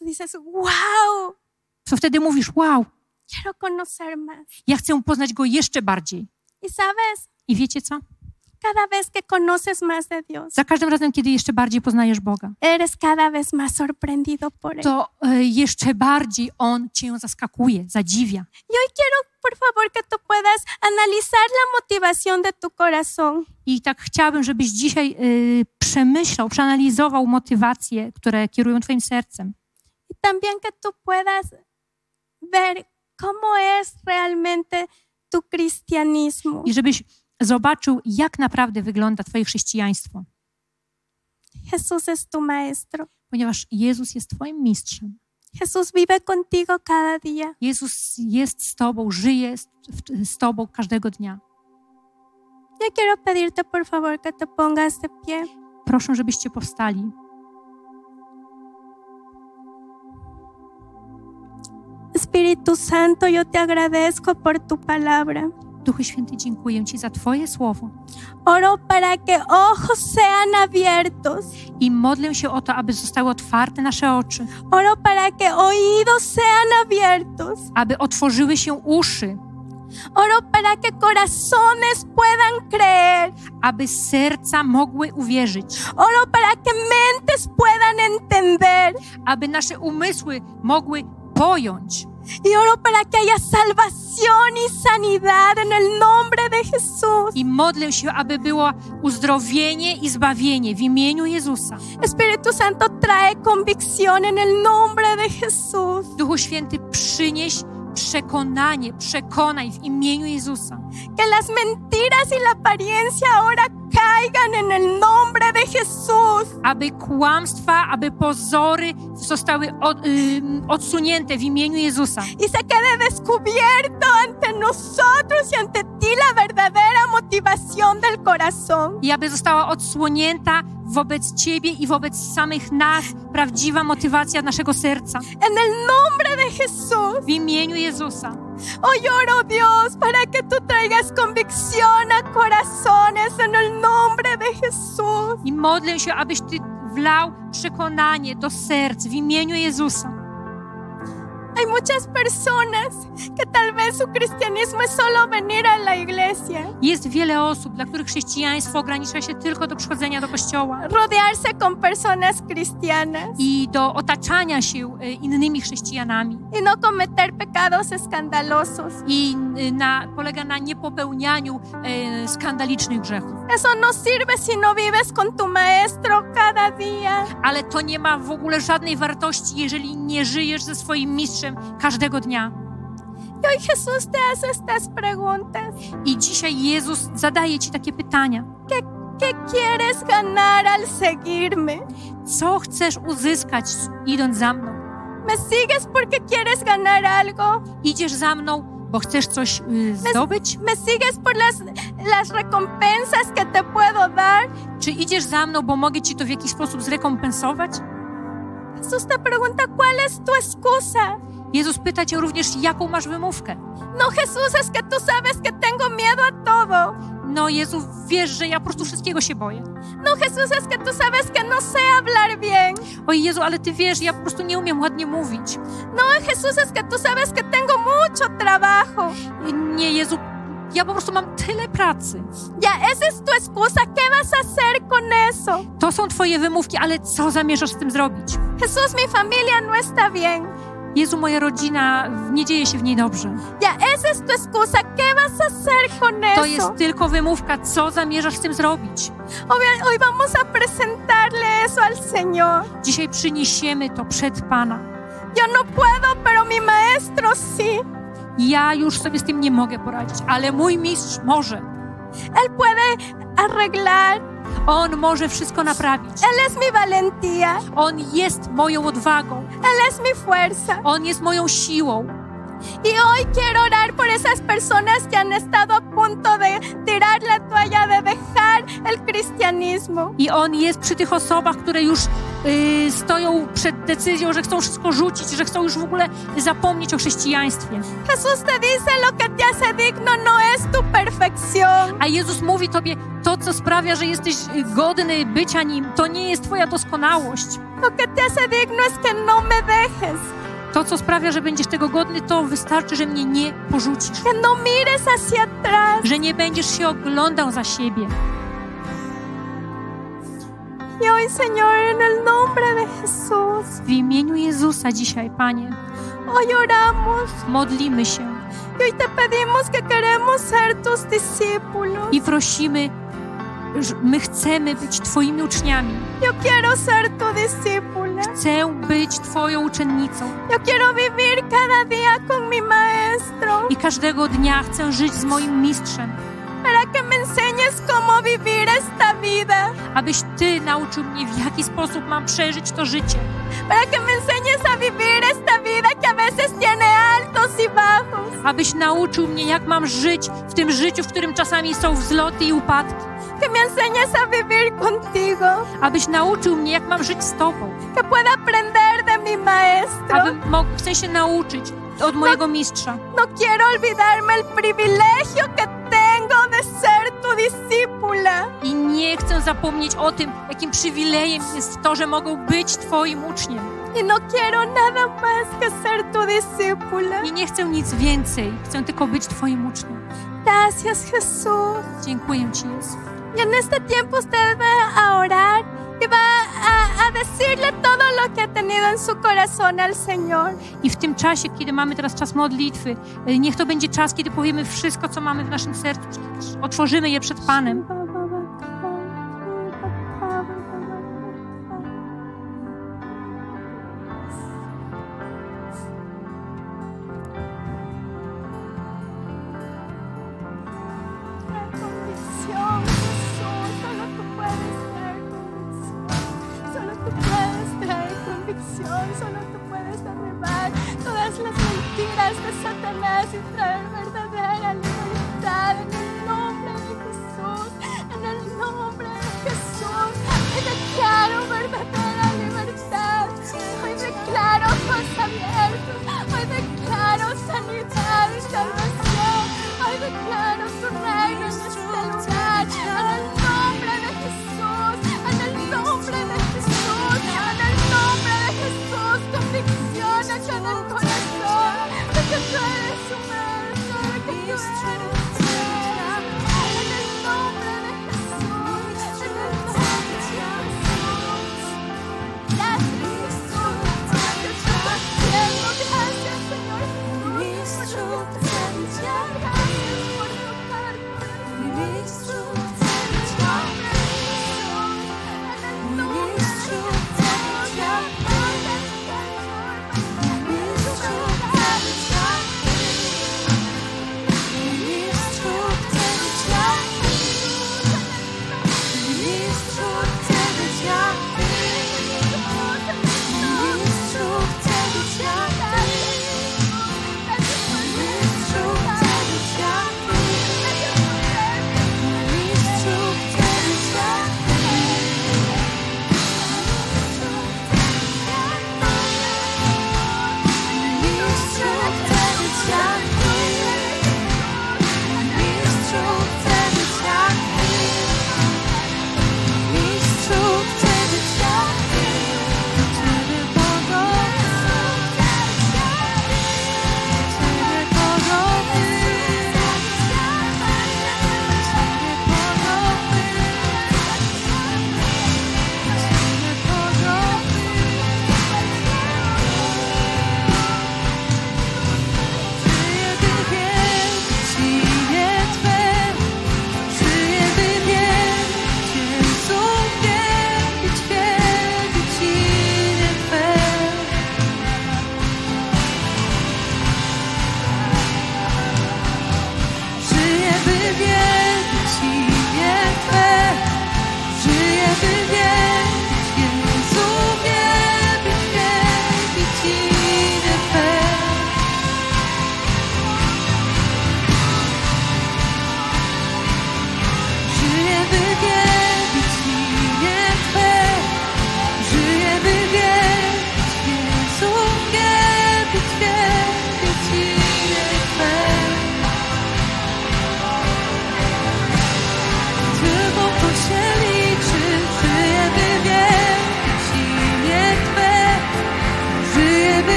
tú dices, wow, to wtedy mówisz, wow, quiero conocer más. ja chcę poznać go jeszcze bardziej. Y sabes, I wiecie co? cada vez que conoces más de Dios, Za każdym razem, kiedy jeszcze bardziej poznajesz Boga, eres cada vez más sorprendido por Él. to e, jeszcze bardziej On cię zaskakuje, zadziwia. Y hoy quiero, por favor, que tú puedas analizar la motivación de tu corazón. I tak chciałabym, żebyś dzisiaj e, przemyślał, przeanalizował motywacje, które kierują twoim sercem. y también que tú puedas ver cómo es realmente tu cristianismo. I żebyś zobaczył, jak naprawdę wygląda twoje chrześcijaństwo. Jesús es tu maestro. Ponieważ Jezus jest twoim mistrzem. Jesús vive contigo cada día. Jezus jest z tobą, żyje z, w- z tobą każdego dnia. Yo quiero pedirte por favor que te pongas de pie. Proszę, żebyście powstali. Espíritu Santo, yo te agradezco por tu palabra. Duchu Święty, dziękuję Ci za Twoje słowo Oro para que ojos sean abiertos. i modlę się o to, aby zostały otwarte nasze oczy, Oro para que oídos sean abiertos. aby otworzyły się uszy, Oro para que corazones puedan creer. aby serca mogły uwierzyć, Oro para que mentes puedan entender. aby nasze umysły mogły pojąć. Y oro para que haya salvación y sanidad en el nombre de Jesús. I modlę się, aby było uzdrowienie i zbawienie w imieniu Jezusa. Espíritu Santo trae convicción en el nombre de Jesús. Duchu Święty, przynieś przekonanie, przekonaj w imieniu Jezusa. Que las mentiras y la apariencia ahora caigan en el nombre de Jesús. aby kłamstwa, aby pozory zostały od, ym, odsunięte w imieniu Jezusa. Y se quede descubierto ante nosotros y ante ti la verdadera motivación del corazón. I aby została odsłonięta wobec Ciebie i wobec samych nas prawdziwa motywacja naszego serca. En el nombre de Jesús. W imieniu Jezusa. Hoy oro Oh, Dios para que tú traigas convicción a corazones en el nombre de Jesús. I modlę się, abyś Ty wlał przekonanie do serc w imieniu Jezusa. Hay Hay muchas personas que tal vez su cristianismo es solo venir a la iglesia, Jest wiele osób, dla których chrześcijaństwo ogranicza się tylko do przychodzenia do kościoła rodearse con personas cristianas i do otaczania się e, innymi chrześcijanami. y no cometer pecados escandalosos. I e, na, polega na niepopełnianiu e, skandalicznych grzechów. Eso no sirve si no vives con tu maestro cada día. Ale to nie ma w ogóle żadnej wartości, jeżeli nie żyjesz ze swoim mistrzem każdego dnia. Y hoy Jesús te hace estas preguntas. I dzisiaj Jezus zadaje ci takie pytania. ¿Qué quieres ganar al seguirme? Co chcesz uzyskać idąc za mną? ¿Me sigues porque quieres ganar algo? Idziesz za mną, bo chcesz coś y, zdobyć? ¿Me sigues por las, las recompensas que te puedo dar? Czy idziesz za mną, bo mogę ci to w jakiś sposób zrekompensować? Jesús te pregunta, ¿cuál es tu excusa? Jezus pyta cię również, jaką masz wymówkę. No, Jesús, es que tú sabes que tengo miedo a todo. No Jezu, wiesz, że ja po prostu wszystkiego się boję. No, Jesús, es que tú sabes que no sé hablar bien. Oj Jezu, ale ty wiesz, ja po prostu nie umiem ładnie mówić. No, Jesús, es que tú sabes que tengo mucho trabajo. Nie Jezu, ja po prostu mam tyle pracy. Ya, esa es tu excusa. ¿Qué vas a hacer con eso? To są twoje wymówki, ale co zamierzasz z tym zrobić? Jesús, mi familia no está bien. Jezu, moja rodzina, nie dzieje się w niej dobrze. Ya, esa es tu excusa. ¿Qué vas a hacer con To jest eso? tylko wymówka, co zamierzasz z tym zrobić. Hoy- Hoy vamos a presentarle eso al Señor. Dzisiaj przyniesiemy to przed Pana. Yo no puedo, pero mi maestro sí. Ja już sobie z tym nie mogę poradzić, ale mój mistrz może. Él puede arreglar. On może wszystko naprawić. Él es mi valentía. On jest moją odwagą. Él es mi fuerza. On jest moją siłą. Y hoy quiero orar por esas personas que han estado a punto de tirar la toalla, de dejar el cristianismo. I on jest przy tych osobach, które już y, stoją przed decyzją, że chcą wszystko rzucić, że chcą już w ogóle zapomnieć o chrześcijaństwie. Jesús te dice lo que te hace digno no es tu perfección. A Jezus mówi tobie, to co sprawia, że jesteś y, godny bycia nim, to nie jest twoja doskonałość. Lo que te hace digno es que no me dejes, To co sprawia, że będziesz tego godny, to wystarczy, że mnie nie porzucisz, que no mires hacia atrás. że nie będziesz się oglądał za siebie. Y hoy, Señor, en el nombre de Jesús, W imieniu Jezusa dzisiaj, Panie, hoy oramos modlimy się y hoy te pedimos que queremos ser tus discípulos. i prosimy, że my chcemy być Twoimi uczniami. Yo quiero ser tu discípula. Chcę być Twoją uczennicą Yo quiero vivir cada día con mi maestro i każdego dnia chcę żyć z moim mistrzem, para que me enseñes cómo vivir esta vida, abyś Ty nauczył mnie, w jaki sposób mam przeżyć to życie, para que me enseñes a vivir esta vida que a veces tiene altos y bajos. abyś nauczył mnie, jak mam żyć w tym życiu, w którym czasami są wzloty i upadki, Que me enseñes a vivir contigo, abyś nauczył mnie, jak mam żyć z Tobą, que pueda aprender de mi maestro. abym mógł w sensie nauczyć od mojego mistrza. No quiero olvidarme el privilegio que tengo de ser tu discípula. I nie chcę zapomnieć o tym, jakim przywilejem jest to, że mogą być Twoim uczniem. Y no quiero nada más que ser tu discípula. I nie chcę nic więcej, chcę tylko być Twoim uczniem. Gracias Jesús. Dziękuję Ci, Jezu. Y en este tiempo usted va a orar y va a, a decirle todo lo que ha tenido en su corazón al Señor. I w tym czasie, kiedy mamy teraz czas modlitwy, y, niech to będzie czas, kiedy powiemy wszystko, co mamy w naszym sercu, otworzymy je przed Panem. La convicción, Jesús, solo tú puedes traer convicción. Solo tú puedes traer convicción. Solo tú puedes derribar todas las mentiras de Satanás y traer verdadera libertad en el nombre de Jesús. En el nombre de Jesús. Hoy declaro verdadera libertad. Hoy declaro ojos abiertos. Hoy declaro sanidad y salvación. Hoy declaro tu reino en este lugar. En el nombre de Jesús. En el nombre de Jesús. En el nombre de Jesús. Como